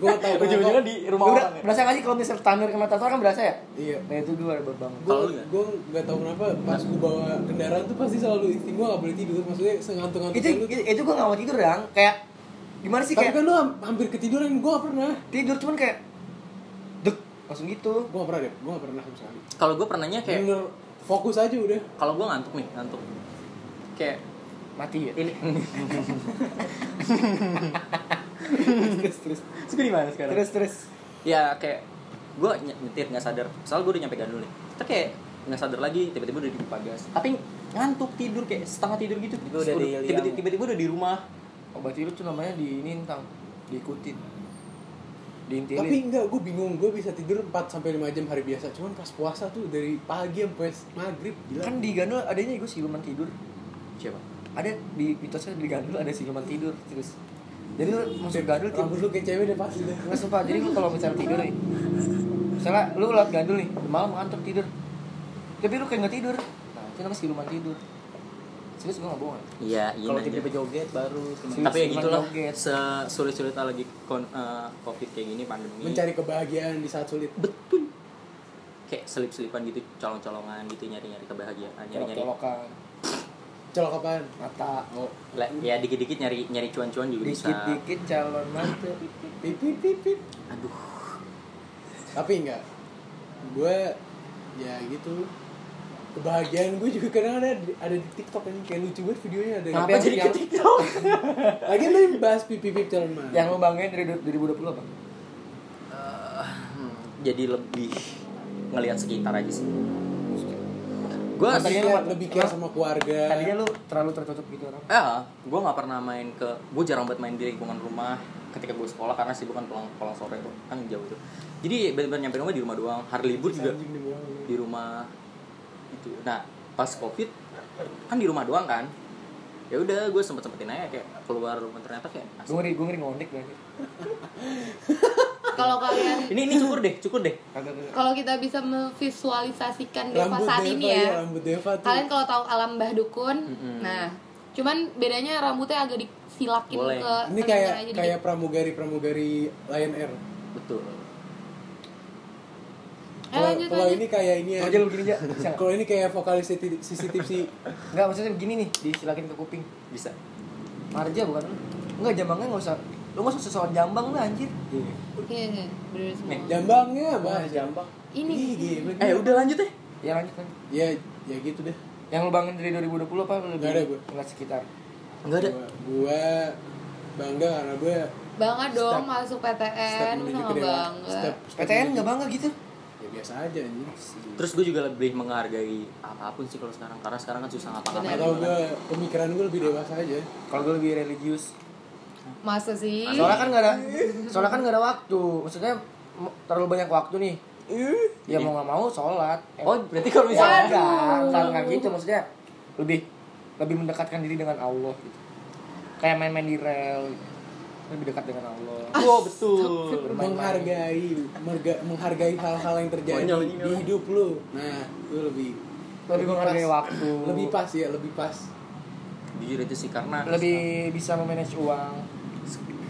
gua nggak tahu gua nggak
Ujung-ujungnya
tahu.
di
Lu
rumah
udah,
orang. ya?
berasa gak sih kalau misalnya tanur kena trotoar kan berasa ya?
iya
Nah itu gue baru bangun
gua
Kalau lu nggak?
gua nggak tahu kenapa pas gua bawa kendaraan tuh pasti selalu insting gua nggak boleh tidur maksudnya sengantung ngantuk
itu itu, itu gue gak mau tidur dong kayak gimana sih
tapi
kayak
kan lu ham- hampir ketiduran gua nggak pernah
tidur cuman kayak dek langsung gitu
gua nggak pernah deh gua nggak pernah sama sekali
Kalau gue pernahnya kayak
bener fokus aja udah
kalau gue ngantuk nih, ngantuk. Kayak
mati ya
ini.
terus terus
Terus gue di mana sekarang?
terus terus
ya kayak gue nyetir nggak sadar soal gue udah nyampe gandul nih kita kayak nggak sadar lagi tiba-tiba udah di pagas tapi ngantuk tidur kayak setengah tidur gitu
Tiba-tiba udah di liang.
tiba-tiba, tiba-tiba udah di rumah
obat tidur tuh namanya diinintang diikutin diintilin
tapi enggak gua bingung gua bisa tidur 4 sampai 5 jam hari biasa cuman pas puasa tuh dari pagi sampai maghrib gila
kan di gandul adanya gue siluman tidur
siapa
ada di mitosnya di gandul ada siluman tidur terus jadi lu masuk gandul tidur
rambut lu kayak cewek deh pasti deh
Nggak sumpah, jadi lu kalau misalnya tidur nih Misalnya lu lewat gandul nih, malam ngantuk tidur Tapi lu kayak nggak tidur Nah, itu namanya siluman tidur Serius gue nggak bohong
iya iya
Kalau
aja.
tiba-tiba joget baru kena-
tapi ya
Siluman
gitulah
joget.
sesulit-sulit lagi kon, eh, covid kayak gini pandemi
mencari kebahagiaan di saat sulit
betul kayak selip-selipan gitu colong-colongan gitu nyari-nyari kebahagiaan nyari-nyari
Colok-colokan,
colok apaan
mata
oh
Le- ya dikit-dikit nyari nyari cuan-cuan juga bisa
Dikit-dikit calon mantu
pipit pipit
aduh
tapi enggak gue ya gitu kebahagiaan gue juga kadang ada ada di TikTok ini kayak lucu banget videonya ada
kenapa
yang-
jadi
yang-
ke TikTok
lagi tadi bahas pipi pipi calon mantu
Yang lu banggain dari du- 2020 apa?
Eh, jadi lebih ngelihat sekitar aja sih gue
Mata
Maksudnya
tadinya lu-
lebih care sama keluarga
Tadinya lu terlalu tertutup gitu orang
ya gue nggak pernah main ke gue jarang banget main di lingkungan rumah ketika gue sekolah karena sih bukan pulang pulang sore tuh kan jauh tuh jadi benar-benar nyampe rumah di rumah doang hari libur juga
Anjing nih,
Iya,
bawah lu.
di rumah itu nah pas covid kan di rumah doang kan ya udah gue sempet sempetin aja kayak keluar rumah ternyata kayak
Gue ngeri, gue ngeri ngondek berarti
kalau kalian
ini ini cukur deh cukur deh
Kagak kagak
kalau kita bisa memvisualisasikan Deva
rambut
saat
Deva iya,
ini ya
iya.
rambut Deva tuh
kalian kalau tahu alam Mbah Dukun nah cuman bedanya rambutnya agak disilakin
Boleh.
ke
ini
tengahnya
kayak
aja dikit.
kayak pramugari pramugari Lion Air
betul
eh,
kalau
lanjut,
kalau
lanjut.
ini kayak ini ya
Kalau aja lu begini aja, bisa nggak?
kalau ini kayak vokalis CCTV
Nggak, maksudnya begini nih, disilakin ke kuping
bisa
Marja bukan lu Enggak, jambangnya nggak usah Lu nggak usah sesuatu jambang lah anjir
Iya, iya, bener semua.
jambangnya mah
Iya, jambang
ini
Ih, gila.
eh udah lanjut deh
Ya lanjut lanjut
ya ya gitu deh
Yang lu bangun dari 2020 apa? Lu lebih
Nggak ada gue.
ngeliat sekitar.
nggak ada
Gua- gua bangga karena ya, gue
bangga dong masuk PTN lu sama bangga
step, step
PTN
menuju-
nggak bangga gitu?
ya biasa aja anjing
terus gue juga lebih menghargai apapun sih kalau sekarang karena sekarang kan susah ngapa-ngapain
atau gue pemikiran gue lebih dewasa aja
Kalau gue lebih religius.
masa sih
Soalnya kan nggak ada, soalnya kan nggak ada waktu. Maksudnya m- terlalu banyak waktu nih. Ya mau nggak mau sholat.
oh berarti kalau
misalnya
misalnya
nggak, nggak gitu maksudnya lebih lebih mendekatkan diri dengan Allah gitu. Kayak main-main di rel, gitu. lebih dekat dengan Allah.
Wow betul.
Bermain-main.
menghargai merga- menghargai hal-hal yang terjadi
Konyol ini
di
orang.
hidup lu nah lu lebih
Lebih menghargai
pas.
waktu.
lebih pas ya lebih pas
Jujur itu sih karena
lebih bisa memanage uang.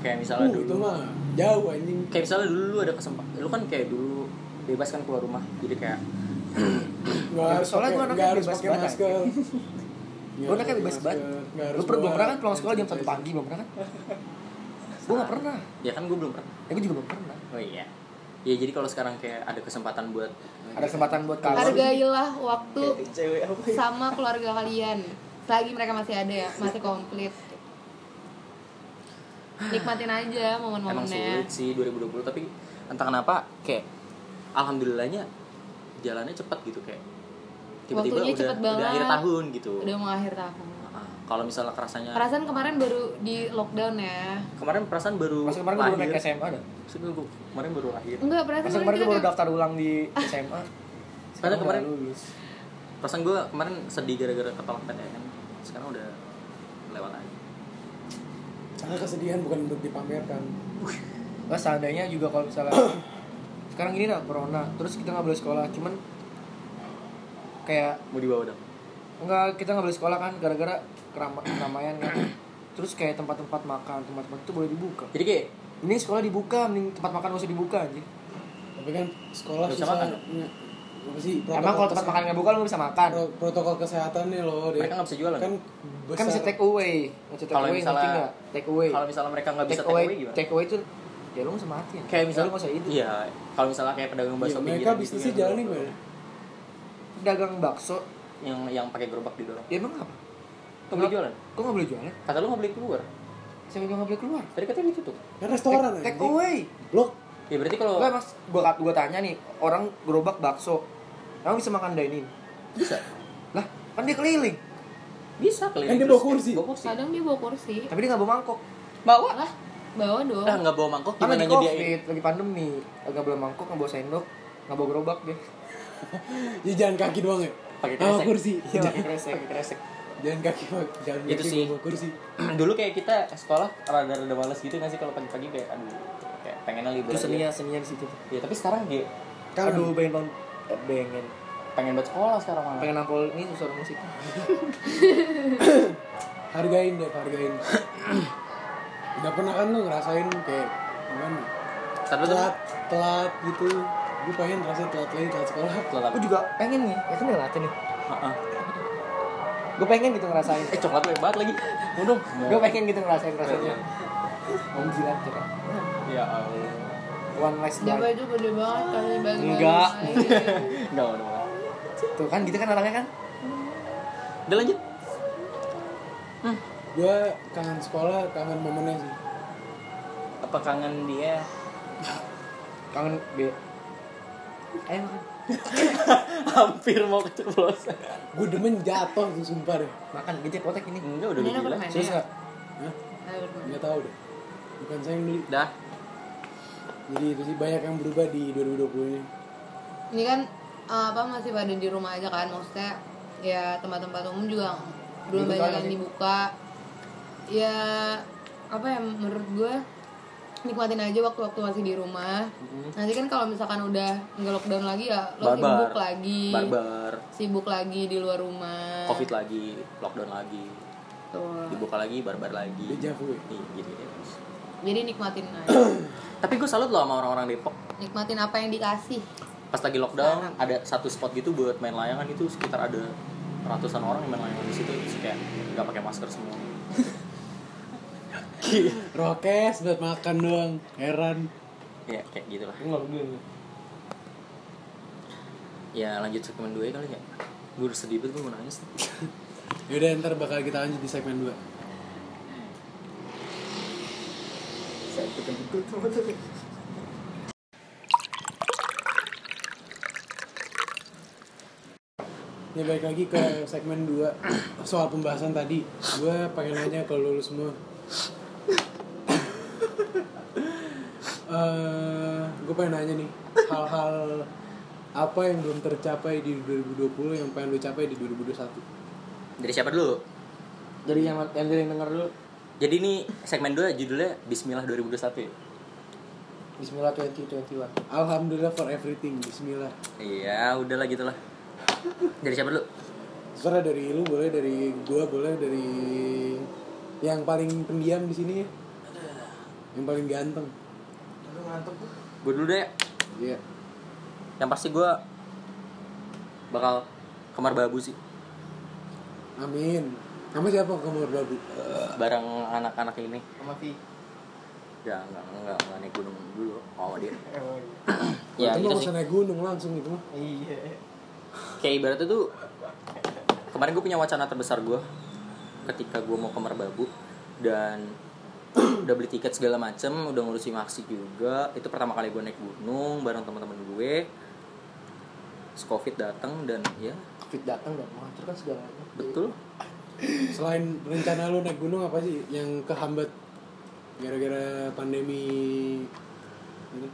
kayak misalnya
uh, itu
dulu
mah jauh anjing
kayak misalnya dulu lu ada kesempatan lu kan kayak dulu bebas kan keluar rumah jadi kayak
nggak harus
soalnya
pakai-
gua anaknya
nggak harus
bebas
pakai
banget.
masker
Iya,
Gue anaknya bebas banget. Gue belum pernah kan pulang sekolah jam 1 pagi, belum pernah kan? Gue gak pernah.
ya kan gue belum pernah
Ya gue juga belum pernah.
oh iya ya jadi kalau sekarang kayak ada kesempatan buat
Ada kesempatan buat kawan.
hargailah waktu
cewek apa ya?
sama keluarga kalian selagi mereka masih ada ya masih komplit nikmatin aja
emang
momen-momennya
sulit sih 2020 tapi entah kenapa kayak alhamdulillahnya jalannya cepat gitu kayak tiba-tiba
Waktunya
udah,
cepet
udah akhir
banget.
tahun gitu
udah mau akhir tahun
Ah, kalau misalnya kerasanya
perasaan kemarin baru di lockdown ya
kemarin perasaan baru
Pas kemarin gue baru naik
lahir.
SMA dah.
Maksudnya gua kemarin baru lahir
enggak perasaan
Pas kemarin
kita
gue baru
kayak-
daftar ulang di SMA.
Padahal
Sekarang
kemarin-
udah lulus.
perasaan gue kemarin sedih gara-gara ketolak PTN sekarang udah lewat aja
Karena kesedihan bukan untuk dipamerkan.
Nah, seandainya juga kalau misalnya sekarang gini lah corona, terus kita nggak boleh sekolah, cuman kayak
mau dibawa dong
enggak kita nggak boleh sekolah kan gara-gara kerama- keramaian kan. Terus kayak tempat-tempat makan, tempat-tempat itu boleh dibuka.
jadi kayak
Mending sekolah dibuka, mending tempat makan gak usah dibuka anjir.
Tapi kan sekolah
Nggak bisa
susah.
makan,
nge- apa sih?
Emang kalau tempat
kesehatan-
makan nggak buka lu bisa makan.
pro- protokol kesehatannya loh, deh.
mereka nggak bisa jualan
Kan besar.
Kan bisa take away. Nggak take
Kalau
away,
misalnya-
ngerti nggak? Take away.
kalau misalnya mereka nggak bisa
Take
take
away,
away gimana
take away itu ya lu nggak usah mati.
kayak misalnya
lu nggak usah hidup.
iya kalau misalnya kayak pedagang
Ya,
bakso
mereka
pinggiran gitu
bisnisnya
yang-
jalannya
Iya.
gimana?
Dagang bakso,
yang yang pakai gerobak didorong
ya emang apa?
nggak boleh jualan
Kok nggak boleh jualan?
kata lu nggak boleh keluar
Saya nggak boleh keluar.
tadi katanya ditutup
Kan restoran
take, take
anjing.
away.
Blok.
ya berarti kalau
Enggak mas, gua gua tanya nih orang gerobak bakso, emang bisa makan dine in?
bisa
Lah, kan dia keliling,
bisa keliling
Kan dia
terus
bawa kursi.
bawa kursi
kadang dia bawa kursi
tapi dia nggak bawa mangkok.
bawa
lah bawa dong
lah nggak bawa mangkok
Kan
gimana
lagi
nyediain
covid, lagi pandemi, nggak bawa mangkok, nggak bawa sendok, nggak bawa gerobak dia.
Ya jalan kaki doang ya.
pakai
Sama
kresek
kursi.
Iya, Gitu pakai kresek, pakai kresek.
Jalan kaki, Pak. jalan
Itu
kaki
sih.
bawa kursi.
dulu kayak kita sekolah rada-rada males gitu nggak sih kalau pagi-pagi kayak aduh kayak pengennya libur
Itu seninya,
aja.
seninya di situ. tuh.
ya tapi sekarang dia
Kangen.
Aduh, pengen banget, eh, pengen,
pengen buat sekolah sekarang malah
pengen nampol ini suara musiknya.
hargain deh hargain udah pernah kan lu ngerasain kayak gimana
Satu tuh
telat telat gitu gue pengen rasanya telat lagi telat sekolah
telat.
Aku juga pengen nih, ya kan nggak ngelatih nih.
Heeh.
Gue pengen gitu ngerasain.
Eh coklat banyak banget lagi. Mau dong.
Gue pengen gitu ngerasain rasanya. Anjir anjir.
Ya Allah.
kan. One last
dia
bite.
baju gede banget kali baju
Enggak.
Enggak mau dong.
Tuh kan gitu kan orangnya kan.
Udah lanjut.
gue kangen sekolah kangen momennya sih
Apa kangen dia?
Kangen be. Ayo makan.
Hampir mau keceplosan.
gue demen jatuh tuh sumpah deh
Makan gejek potek ini.
Enggak udah gitu
Ini
gila.
permainan.
Hmm. Serius enggak?
Hah?
Iya.
nggak tahu deh bukan saya yang beli
Dah.
jadi itu sih banyak yang berubah di 2020 ini
ini kan eh, apa masih pada di rumah aja kan maksudnya ya tempat-tempat umum juga belum
Dibuka
banyak
nggak
yang
sih?
dibuka ya apa ya menurut gue nikmatin aja waktu-waktu masih di rumah nanti kan kalau misalkan udah nggak lockdown lagi ya lo
Mm-hmm. Barbar.
sibuk lagi Nah.
Barbar.
sibuk lagi di luar rumah Gitu.
Covid lagi, lockdown lagi,
Tuh.
dibuka lagi, barbar lagi.
Deja vu ya?
Nih, gitu ya.
jadi nikmatin aja
Tapi gue salut loh sama orang-orang Depok.
nikmatin apa yang dikasih
Pas lagi lockdown, ada satu spot gitu buat main layangan itu sekitar ada ratusan orang yang main layangan di situ terus kayak nggak pakai masker semua.
rokes buat makan doang heran
Ya kayak gitulah.
Enggak gue.
Ya lanjut segmen 2 kali ya Gue udah sedih banget, gue mau nangis
yaudah ntar bakal kita lanjut di segmen 2 Ya balik lagi ke segmen 2 Soal pembahasan tadi Gue pengen nanya ke lu semua eh Gue pengen nanya nih Hal-hal apa yang belum tercapai di 2020 yang pengen lu capai di 2021
Dari siapa dulu?
Dari yang yang dari yang denger dulu.
Jadi ini segmen 2 judulnya Bismillah 2021 ya?
Bismillah 2021.
Alhamdulillah for everything Bismillah
Iya udahlah gitu lah Dari siapa dulu?
Terserah dari lu boleh dari gue boleh dari yang paling pendiam di sini ya yang paling ganteng
Gue dulu deh ya.
iya
Yang pasti gue Bakal kamar babu sih
amin sama siapa kamu babu
Bareng anak-anak ini
Sama Vi.
Ya enggak, enggak, enggak naik gunung dulu Oh dia
Emang.
Ya
itu
gitu
mah
sih
usah naik gunung langsung gitu mah
Iya.
Kayak ibaratnya tuh Kemarin gue punya wacana terbesar gue Ketika gue mau kamar babu Dan udah beli tiket segala macem udah ngurusin aksi juga itu pertama kali gue naik gunung bareng teman-teman gue Terus covid datang dan ya
Covid datang kan dan menghancurkan segalanya.
betul
selain rencana lu naik gunung apa sih yang kehambat gara-gara pandemi ini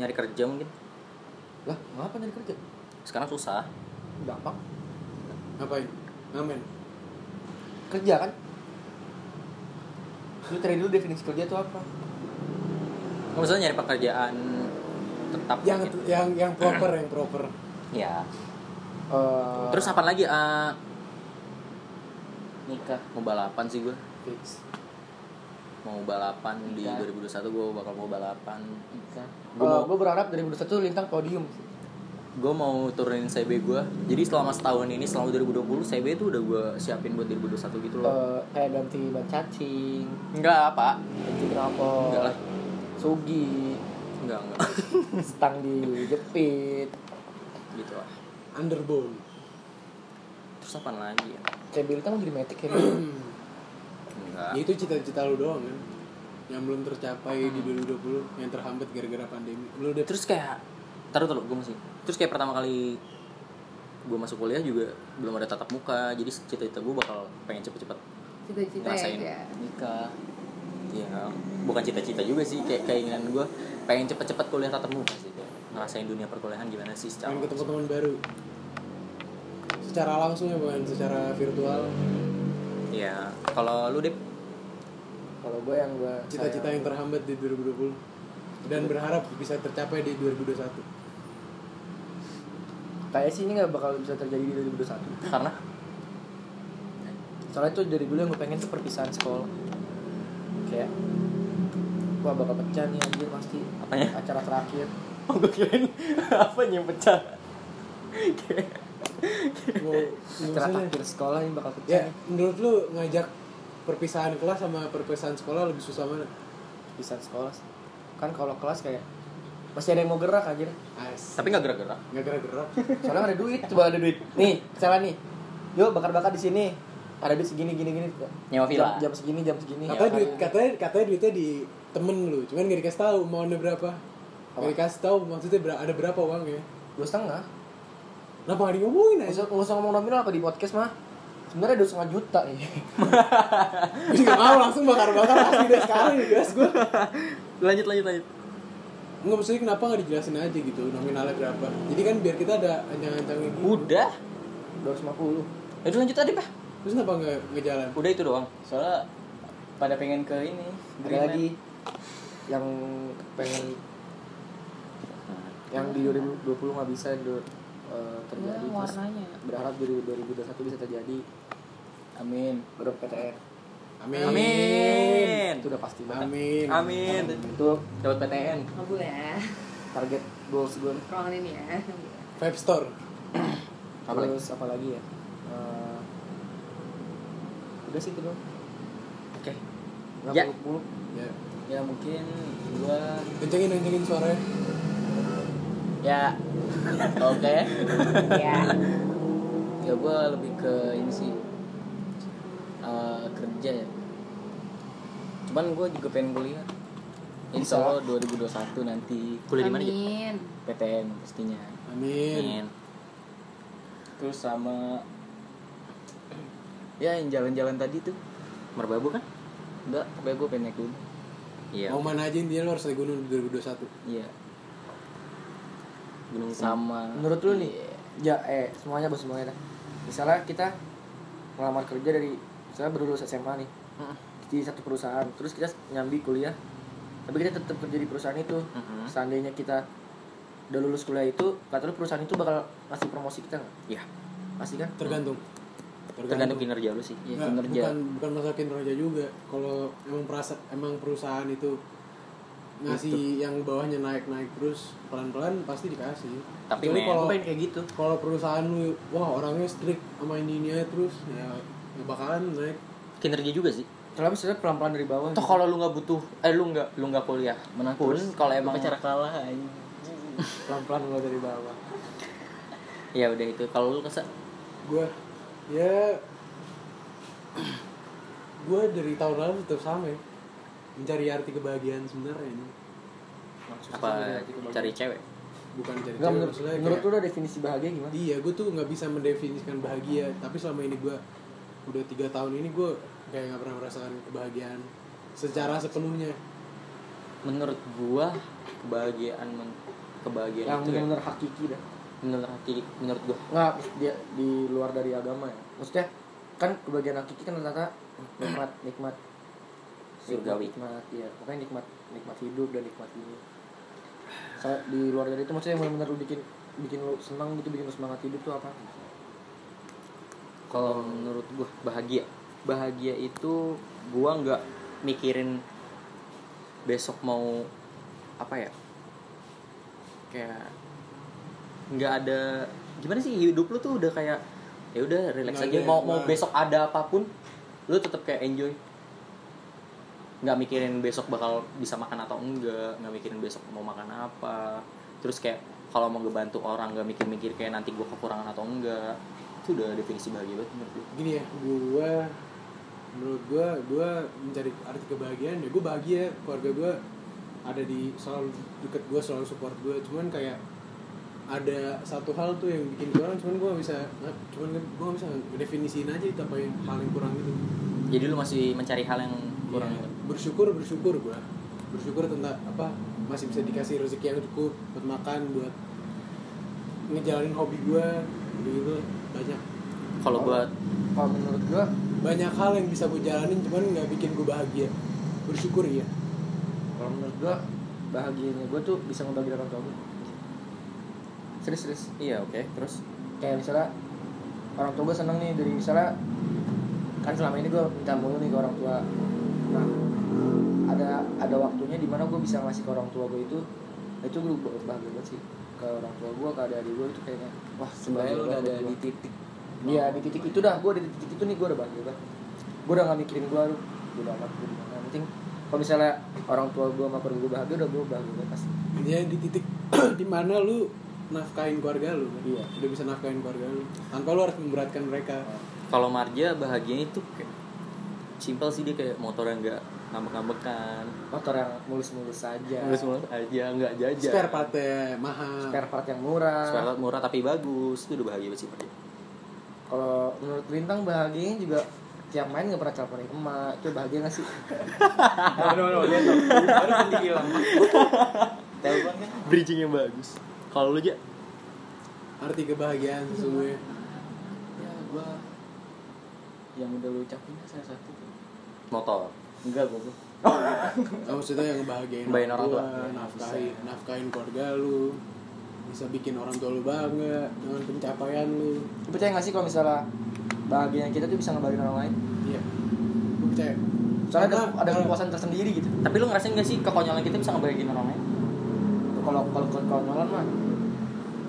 nyari kerja mungkin
Lah, ngapa nyari kerja?
sekarang susah
Gampang.
ngapain ngamen
kerja kan lu cari dulu definisi kerja itu apa
Oh, Maksudnya nyari pekerjaan tetap
yang
gitu.
yang yang proper yang proper
Ya.
Eh,
Terus apa lagi? Eh, nikah mau balapan sih gue.
fix
Mau balapan di
Nikah.
2021 gue bakal mau balapan. Gua mau-
gue Eh, berharap dari 2021 lintang podium sih
Gue mau turunin CB gue. Jadi selama setahun ini selama 2020 CB itu udah gue siapin buat 2021 gitu loh.
Eh, kayak ganti ban cacing
Enggak, Pak.
ganti knalpot
Enggak lah.
sugi
Enggak, enggak.
stang di jepit
gitu lah.
underbone
Terus apa lagi ya?
CB lintang mau jadi metik ya Bil?
Hmm.
Enggak.
ya itu cita-cita lu doang kan yang belum tercapai
Hmm.
di 2020 yang terhambat gara-gara pandemi lu udah
terus kayak taruh taruh gue masih terus kayak pertama kali gue masuk kuliah juga belum ada tatap muka jadi cita-cita gue bakal pengen cepet-cepet
cita-cita
ngerasain
ya
nikah ya bukan cita-cita juga sih kayak keinginan gue pengen cepet-cepet kuliah tatap muka sih kayak ngerasain dunia perkuliahan gimana sih secara
pengen ketemu teman baru secara langsung ya bukan secara virtual
ya kalau lu deh
kalau gue yang gue
cita-cita yang terhambat di 2020 dan berharap bisa tercapai di 2021
kayak sih ini nggak bakal bisa terjadi di 2021
karena
soalnya tuh dari dulu yang gue pengen tuh perpisahan sekolah kayak wah bakal pecah nih anjir pasti
Apanya?
acara terakhir
oh, gue kirain apa yang pecah
Wow,
acara
maksudnya,
terakhir sekolah ini bakal pecah
ya menurut lu ngajak perpisahan kelas sama perpisahan sekolah lebih susah mana
perpisahan sekolah sih. kan kalau kelas kayak masih ada yang mau gerak anjir
As.
tapi nggak gerak-gerak
nggak gerak-gerak
soalnya nggak ada duit coba ada duit nih misalnya nih yuk bakar-bakar di sini ada duit segini gini gini
Nyewa villa.
jam, jam segini jam segini
Iya,
katanya duit katanya katanya duitnya di temen lu cuman gak dikasih tahu mau ada berapa
Apa?
gak dikasih tahu maksudnya ber- ada berapa uangnya
dua setengah
kenapa gak diomongin
nggak
aja
usah, nggak usah ngomong nominal apa di podcast mah sebenarnya dua setengah juta eh, nih
gue juga mau langsung bakar-bakar asli deh sekarang nih guys gue
lanjut lanjut lanjut
nggak maksudnya kenapa nggak dijelasin aja gitu nominalnya berapa jadi kan biar kita ada ancang-ancangnya gitu
udah
dua ratus lima puluh
itu lanjut tadi pak
terus kenapa nggak ngejalan
udah itu doang soalnya pada pengen ke ini
ada lagi yang pengen yang di 2020 nggak bisa du- eh,
ya
terjadi terus
warnanya
berharap di 2021 bisa terjadi
amin
grup PTN
amin
Amin.
itu udah pasti banget
amin,
Amin.
itu
Dapat PTN.
aku ya
target goals gue
ruangan ini ya
Five store
Apa lagi?
terus apa lagi ya Eh, udah sih itu doang
Oke.
nggak
Ya.
muluk-muluk
ya
Ya mungkin gua
kencengin kencengin suaranya
ya oke.
ya
Ya gua lebih ke ini sih eh, kerja ya. Cuman gua juga pengen kuliah. Insya Allah 2021 nanti kuliah di mana? Ji?
amin
PTN pastinya.
amin
Amin. Terus sama ya yang jalan-jalan tadi tuh merbabu kan? Enggak, pokoknya gue pengen naik gunung. Iya.
mau mana aja intinya lo harus naik gunung di 2021
Iya. Gunung sama.
menurut lu nih ya eh semuanya bos semuanya dah. misalnya kita ngelamar kerja dari misalnya baru lulus SMA nih
Mm.
di satu perusahaan terus kita nyambi kuliah tapi kita tetap kerja di perusahaan itu
Mhm.
seandainya kita udah lulus kuliah itu kata lu perusahaan itu bakal ngasih promosi kita nggak
Iya.
pasti kan
tergantung
Tergantung Iya, kinerja lu sih.
Nggak, bukan bukan masalah kinerja juga kalau emang perasa, emang perusahaan itu ngasih yang bawahnya naik naik terus pelan pelan pasti dikasih
Tapi
Kecuali
men-
kalau
Gua pengen kayak gitu
kalau perusahaan lu wah orangnya strict sama ini ini aja terus ya ya bakalan naik
Kinerja juga sih.
kalau misalnya pelan pelan dari bawah
Toh kalau lu nggak butuh, eh lu nggak lu nggak kuliah, pun kalau emang cara kalah.
pelan pelan mulai dari bawah
Ya udah itu. Kalau lu kesa
gue ya gue dari tahun lalu tetap sama ya mencari arti kebahagiaan sebenarnya ini
apa cari cewek?
bukan cari
Nggak,
cewek,
menurut,
maksudnya
menurut
kayak-
lu udah definisi bahagia gimana
Iya, gue tuh nggak bisa mendefinisikan bahagia. Tapi selama ini gue udah tiga tahun ini gue kayak nggak pernah merasakan kebahagiaan secara sepenuhnya.
Menurut gua kebahagiaan men- kebahagiaan
yang
itu ya,
benar benar hakiki dah
menurut hati menurut gua
nggak dia di luar dari agama ya maksudnya kan kebagian aku kan rata-rata nikmat nikmat
Surgawi.
nikmat ya pokoknya nikmat nikmat hidup dan nikmat ini Sa- di luar dari itu maksudnya yang benar-benar lu bikin bikin lu senang gitu bikin lu semangat hidup tuh apa
kalau menurut gue bahagia bahagia itu gue nggak mikirin besok mau apa ya kayak nggak ada gimana sih hidup lu tuh udah kayak ya udah relax
Nggak
aja
ada
mau
yang
mau
keluar.
besok ada apapun lu tetap kayak enjoy nggak mikirin besok bakal bisa makan atau enggak nggak mikirin besok mau makan apa terus kayak kalau mau ngebantu orang nggak mikir-mikir kayak nanti gue kekurangan atau enggak itu udah definisi bahagia banget menurut gue
gini ya gue menurut gue gue mencari arti kebahagiaan ya gue bahagia keluarga gue ada di selalu deket gue selalu support gue cuman kayak ada satu hal tuh yang bikin gue orang cuman gue bisa cuman gue bisa definisiin aja itu apa yang hal yang kurang gitu
jadi lu masih mencari hal yang kurang gitu?
Ya,
itu
bersyukur bersyukur gue bersyukur tentang apa masih bisa dikasih rezeki yang cukup buat makan buat ngejalanin hobi gue gitu banyak
kalau buat
kalau menurut gua
banyak hal yang bisa gue jalanin cuman nggak bikin gue bahagia bersyukur ya
kalau menurut gua bahagianya gua tuh bisa ngebagiin orang tua gua serius serius
iya oke terus
kayak misalnya orang tua gue seneng nih dari misalnya kan selama ini gue minta mulu nih ke orang tua nah ada ada waktunya di mana gue bisa ngasih ke orang tua gue itu itu gue bahagia banget sih ke orang tua gue ke adik gue itu kayaknya wah
sebenarnya lu udah ada di
titik
titik
iya di titik itu dah gue di titik itu nih gue udah bahagia banget gue udah gak mikirin gue aduh gue udah amat gue dimana yang penting kalau misalnya orang tua gue sama keluarga gue bahagia udah gue bahagia banget pasti
dia di titik dimana lu nafkahin keluarga lu kan?
Iya.
udah bisa nafkahin keluarga lu tanpa lu harus memberatkan mereka
kalau Marja bahagianya itu kayak simpel sih dia kayak motor yang nggak ngambek-ngambekan
motor yang mulus-mulus aja
terus mulus aja nggak jajan
spare partnya mahal
Iya. spare part yang murah
Spare part murah tapi bagus itu udah bahagia banget sih Marja
kalau menurut Lintang bahagianya juga tiap main gak pernah teleponin emak itu bahagia gak sih?
no no dia tuh baru nanti hilang telepon kan
bridging yang bagus kalau lu aja
arti kebahagiaan sesungguhnya
ya gua yang udah lu ucapin salah satu
motor
enggak gua gua.
Nah, maksudnya yang ngebahagiain
Ngebahagiain orang tua.
nafkahin nafkahin keluarga lu bisa bikin orang tua lu bangga dengan pencapaian lu
Lu percaya gak sih kalau misalnya bahagianya kita tuh bisa ngebagiin orang lain?
iya gue percaya
Soalnya ada,
Karena-
ada kepuasan tersendiri gitu
tapi lu ngerasain gak sih kekonyolan kita bisa ngebahagiain orang lain
Kalau kalau kalau kalau Nolan mah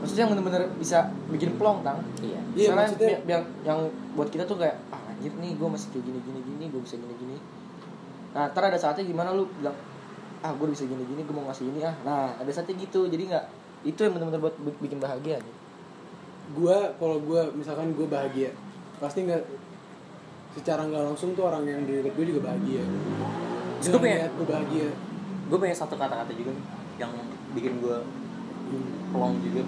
Maksudnya yang bener-bener bisa bikin plong tang
iya
Iya,
Misalnya
maksudnya-
yang, yang, yang buat kita tuh kayak Ah anjir nih gue masih kayak gini-gini gini, gue bisa gini-gini Nah ntar ada saatnya gimana lu bilang Ah gue bisa gini-gini, gue mau ngasih ini ah Nah ada saatnya gitu, jadi gak Itu yang bener-bener buat bi- bikin bahagia gitu.
gue kalau gue misalkan gue bahagia pasti nggak secara nggak langsung tuh orang yang di dekat gue juga bahagia
Terus
Dia
gue punya-
ngeliat gue bahagia
gue punya satu kata-kata juga nih, yang bikin gue
Hmm.
pelong juga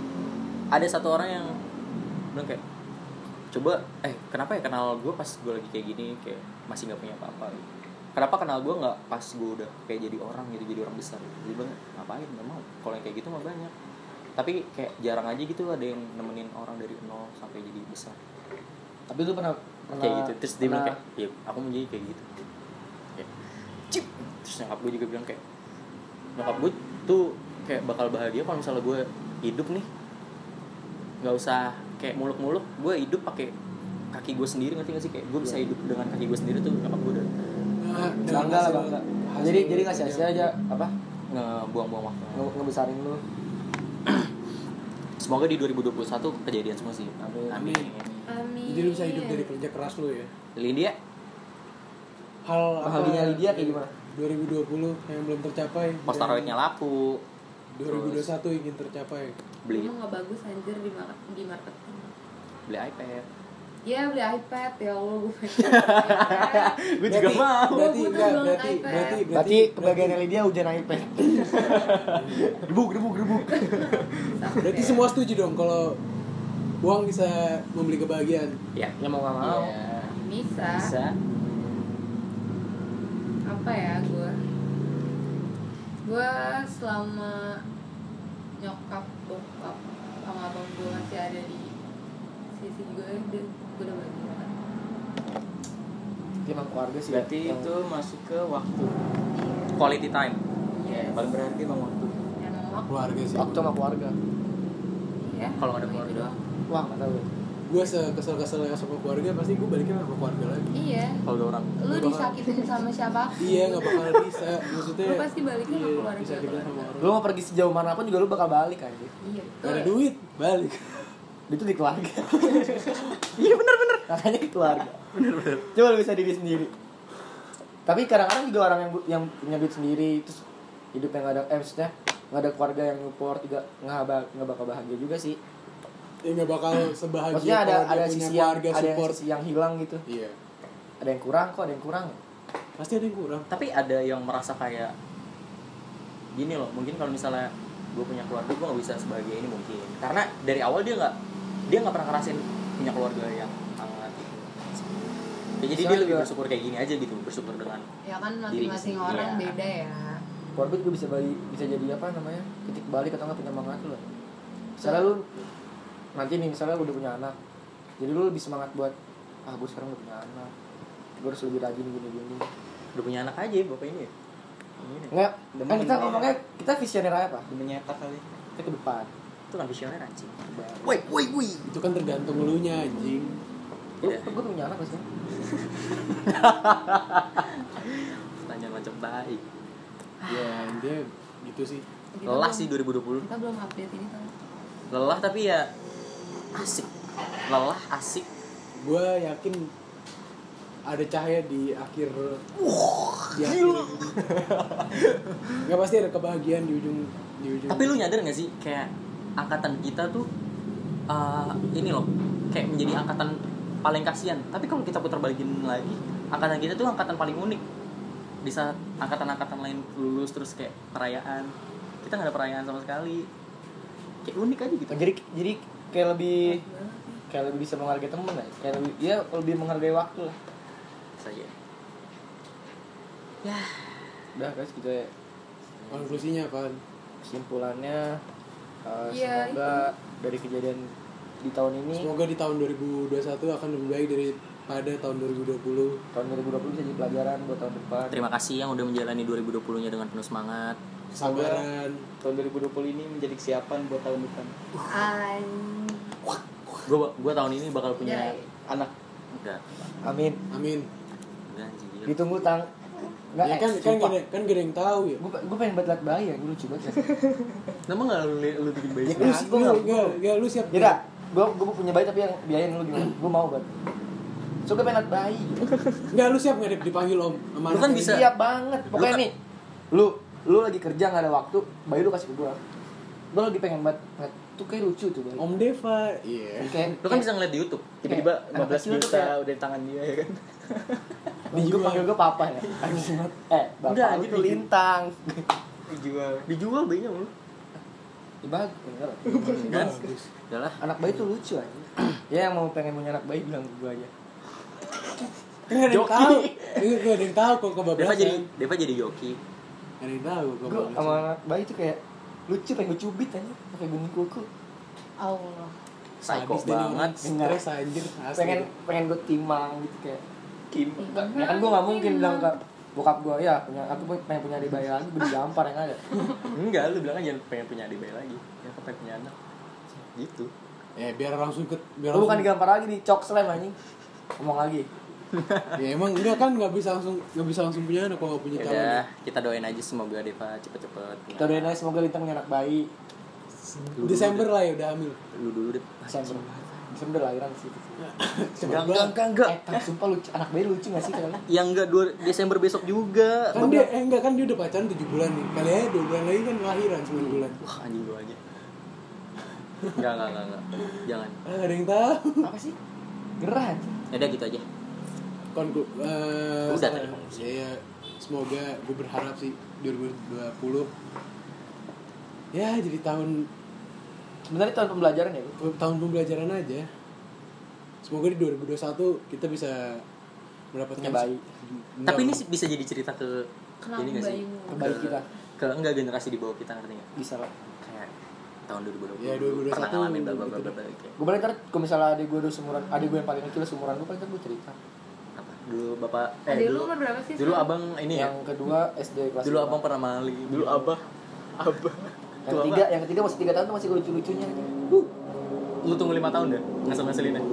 ada satu orang yang bilang kayak coba eh kenapa ya kenal gue pas gue lagi kayak gini kayak masih nggak punya apa-apa gitu. kenapa kenal gue nggak pas gue udah kayak jadi orang gitu jadi orang besar gitu. jadi bilang ngapain nggak mau kalau yang kayak gitu mah banyak tapi kayak jarang aja gitu ada yang nemenin orang dari nol sampai jadi besar
Tapi lu pernah pernah
kayak gitu terus dia bilang
pernah-
kayak ya aku mau jadi kayak gitu kayak, cip terus nyokap gue juga bilang kayak nyokap gue tuh kayak bakal bahagia kalau misalnya gue hidup nih nggak usah kayak muluk-muluk gue hidup pakai kaki gue sendiri ngerti gak sih kayak gue bisa hidup dengan kaki gue sendiri tuh nyokap gue udah
Nah, dengan
bangga lah
hasil-
bangga
hasil
jadi jadi ngasih hasil
kerja.
aja apa
ngebuang-buang waktu
nge- ngebesarin lu
semoga di 2021 kejadian semua sih
Amin.
amin
Amin.
jadi lu bisa hidup dari kerja keras lu ya
Lydia
hal
bahagianya Lydia kayak gimana
2020 yang belum tercapai
posteroidnya laku
dan 2021 ingin tercapai
beli
Emang nggak bagus anjir di, mar- di marketing.
beli iPad
Ya beli iPad ya Allah gue pengen. iPad.
gue
Berarti- berarti
Oh, Gua butuh
enggak,
dong
berarti
iPad.
berarti
berarti kebahagiaan Lydia hujan iPad gebuk gebuk gebuk
Sakit
berarti
ya.
semua setuju dong kalau uang bisa membeli kebahagiaan
ya
ya mau gak mau
Iya.
bisa.
bisa
Apa ya gue? Gue selama nyokap bokap eh, sama abang gue masih ada di sisi gue, gue udah bahagia banget.
Itu emang keluarga sih.
Berarti
yang-
itu masuk ke waktu
Iya.
quality time. Yang paling berarti emang waktu.
Dan waktu
keluarga sih
waktu sama keluarga.
ya.
Kalau nggak ada keluarga Nah, doang.
Wah, nggak tahu.
gue sekesel-kesel sama keluarga pasti gue baliknya sama keluarga lagi
Iya.
Kalau ada orang
Lu disakitin sama siapa?
iya nggak bakal bisa maksudnya
Lu pasti baliknya sama
iya,
keluarga.
bisa kita sama orang
Lu mau pergi sejauh mana pun juga lu bakal balik aja.
Iya.
Gak ada
betul.
duit balik
Itu di keluarga. iya benar-benar. Makanya di keluarga. Benar-benar. Coba lu bisa diri sendiri. Tapi kadang-kadang juga orang yang bu- yang punya duit sendiri terus hidup yang nggak ada eh, maksudnya nggak ada keluarga yang support juga nggak ba- nggak bakal bahagia juga sih.
ya nggak bakal sebahagia
Maksudnya ada
kalau dia
ada
punya
sisi yang
keluarga
ada yang
support
sisi yang hilang gitu.
iya
Ada yang kurang kok, ada yang kurang.
pasti ada yang kurang
tapi ada yang merasa kayak gini loh mungkin kalau misalnya gue punya keluarga gue nggak bisa sebahagia ini mungkin karena dari awal dia nggak dia nggak pernah ngerasain punya keluarga yang hangat gitu. Ya, jadi dia
Misalnya
lebih
juga-
bersyukur kayak gini aja gitu bersyukur dengan
Ya kan
Diri
masing-masing
sendiri,
orang
ya.
beda ya.
keluarga juga bisa balik bisa jadi apa namanya titik balik atau nggak penyemangat lu misalnya lu nanti nih misalnya lu udah punya anak jadi lu lebih semangat buat ah gue sekarang udah punya anak gue harus lebih rajin gini gini
udah punya anak aja bapak ini ya Ini.
enggak
Demi-
kan kita ngomongnya kita visioner apa
Udah menyetak kali
kita ke depan
itu kan visioner anjing
wait
itu kan tergantung lu nya anjing
lu
Iya.
gue punya anak gak sih
pertanyaan macam baik
Ah.
ya intinya gitu sih
Kita
lelah
belum-
sih 2020
Kita belum update ini kan.
lelah tapi ya asik lelah asik
gue yakin ada cahaya di akhir di akhir nggak pasti ada kebahagiaan di ujung di ujung
Tapi lu nyadar gak sih kayak angkatan kita tuh uh, ini loh kayak menjadi angkatan paling kasihan. Tapi kalau kita putar balikin lagi, angkatan kita tuh angkatan paling unik. Di saat angkatan-angkatan lain lulus terus kayak perayaan, kita nggak ada perayaan sama sekali. Kayak unik aja gitu.
jadi jadi kayak
Iya.
lebih kayak lebih bisa menghargai temen lah kayak lebih ya lebih menghargai waktu lah
Saja.
udah guys gitu ya
konklusinya apa
kesimpulannya eh,
Iya,
semoga dari kejadian di tahun ini
semoga di tahun 2021 akan lebih baik daripada tahun 2020
tahun 2020 bisa jadi pelajaran buat tahun depan
Terima kasih yang udah menjalani 2020-nya dengan penuh semangat.
kesabaran
tahun 2020 ini menjadi kesiapan buat tahun depan
An-
Gua gua tahun ini bakal punya
Jadi-
anak
enggak
amin
amin
enggak anjing. gila.
ditunggu tang nggak eh,
ya kan
eh,
kan gak ada, kan gak ada yang tahu ya
gue gue pengen buat liat bayi ya gue lucu banget
Nama enggak lu, lu bikin bayi?
ya
Lu,
lu sih gue
lu,
nggak
gak, gak, lu siap
Gila, gue gue punya bayi tapi yang biayain lu gimana gue mau banget so gue pengen liat bayi
Enggak, lu siap gak Dip, dipanggil om sama
Lu kan
anaknya?
bisa.
siap banget pokoknya
Lu- kan-
nih lu lu lagi kerja nggak ada waktu bayi lu kasih ke gue gue lagi pengen banget ngeliat, tuh kayak lucu tuh bayi
Om Deva Iya
kayak
Oh, Lu kan bisa ngeliat di YouTube.
tiba-tiba
Kayak anak
15
kecil tuh
juta
kayak-
udah di tangan dia ya kan
Gue panggil gue papa ya Anjing banget. Eh, bapak
Udah,
lu
gitu,
tuh
gitu.
lintang
dijual
Dijual bayinya lu.
Ya, bagus, enggak lah.
Bagus
Udah lah.
Anak bayi tuh lucu aja Ya yang mau pengen punya anak bayi bilang ke gue aja
Kan gak ada yang
Joki.
tahu Ini gak ada yang tahu kok
Deva
kebablasan
jadi Deva jadi joki.
Gak ada yang tahu kok
Gue sama anak bayi tuh kayak lucu pengen gue cubit aja Pakai gunting kuku
Allah.
Psycho
Sadis dan
banget.
orang Stres anjir asli.
Pengen pengen gue timang gitu kayak
Kim
Ya kan gue gak mungkin bilang ke bokap gue Ya punya, aku pengen punya adik bayi lagi Gue digampar yang ada
Enggak, lu bilang aja pengen punya adik bayi lagi. Ya aku pengen punya anak. Gitu.
Ya biar langsung ke biar
Gue
langsung,
bukan digampar lagi di cok slam anjing Ngomong lagi
Ya emang enggak kan gak bisa langsung Gak bisa langsung punya anak kalau gak punya
Ya
calon
udah, kita doain aja semoga Deva cepet-cepet. punya
Kita doain aja semoga lintang punya anak bayi
Lu dulu
Desember lah ya udah hamil
deh. Lu dulu deh.
Desember Desember lahiran sih
Enggak,
Cepet
enggak,
banget.
enggak, enggak.
Eh, tapi sumpah lucu, anak bayi lucu gak sih kalian?
Ya enggak, dua Desember besok juga.
Kan dia, eh enggak kan dia udah pacaran 7 bulan nih Kali aja 2 bulan lagi kan lahiran 9 bulan
Wah, anjing gua aja. Enggak, enggak, enggak, enggak. Jangan.
Ah, Gak ada yang tahu
Apa sih? Gerah aja
Ya udah gitu aja.
Konklu eh,
Udah
sama-
tadi konklusi.
ya, ya, semoga gue berharap sih 2020 ya jadi tahun
Sebenarnya tahun pembelajaran ya, Bu.
tahun pembelajaran aja. Semoga di 2021 kita bisa mendapatkan
Punya bayi.
Enggak.
Tapi ini sih bisa jadi cerita ke
Kenapa
ini nggak sih?
bayimu?
Ke bayi
Ke-
kita.
Ke enggak generasi di bawah kita ngerti enggak?
bisa lah.
Kayak tahun 2020.
Iya,
Ya, 2021
pernah ngalamin bla bla bla
gitu
bla.
deh.
bla, kayak.
Gue paling ntar, kalau misalnya adik gue udah seumuran, adik gue yang paling kecil seumuran gue paling ntar gue cerita.
dulu bapak eh
Adik lu
dulu
umur berapa sih?
dulu
sekarang?
abang ini ya
Yang kedua SD kelas
dulu
lima.
abang pernah maling
Dulu abah Abah
Yang ketiga, yang ketiga masih tiga tahun tuh masih gue lucu-lucunya. Huh.
lu tunggu lima tahun deh ngasal ngasalinnya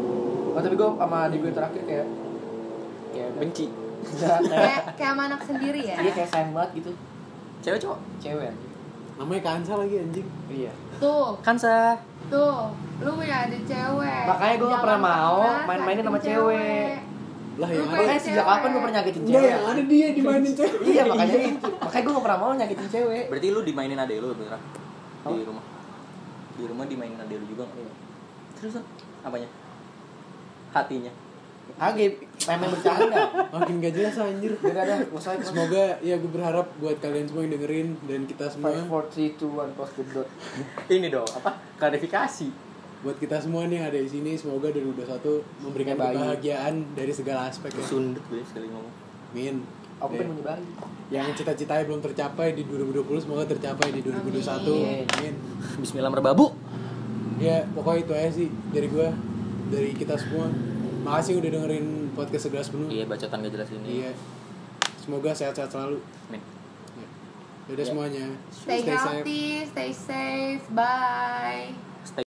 Nah, tapi gue sama adik gue terakhir kayak kayak
Benci
Enggak, kayak
Kayak kayak sama anak sendiri ya.
Iya,
dia kayak sayang banget gitu,
cewek cowok
cewek.
namanya kansa lagi anjing
Iya.
Tuh,
kansa
tuh. Lu punya adik cewek.
Makanya gua nggak
Jangan
pernah mau
pernah
main-mainin sama
sakitin
cewek.
lah yang
Lu
ada
Makanya sejak
cewek. Iya,
kapan gue pernah nyakitin
enggak
cewek?
yang ada dia dimainin cewek
Iya, makanya itu. Makanya gue gak pernah mau nyakitin cewek.
berarti lu dimainin adek lu beneran di
Apa?
rumah di rumah dimainin adek lu juga nggak? terus San? apanya hatinya
Agak main-main bercanda.
makin gak jelas anjir
Gak ada, gak usah.
semoga ya gue berharap buat kalian semua yang dengerin dan kita semua
5, 4, 3, 2, 1, pause the dot.
ini dong apa klarifikasi
buat kita semua nih yang ada di sini semoga 2021 memberikan
Baik.
kebahagiaan dari segala aspek ya.
sundut gue sekali ngomong
Min.
Aku
Ya.
pengen menyebarin.
Yang cita-citanya belum tercapai di 2020 semoga tercapai di 2021.
Amin.
Amin.
Bismillah merbabu
Ya, pokoknya itu aja sih dari gua, dari kita semua. Makasih udah dengerin podcast segelas penuh.
iya bacotan gak jelas ini
Iya. Semoga sehat-sehat selalu.
Amin.
Ya. Yaudah semuanya.
Stay healthy, stay safe. Bye.
Stay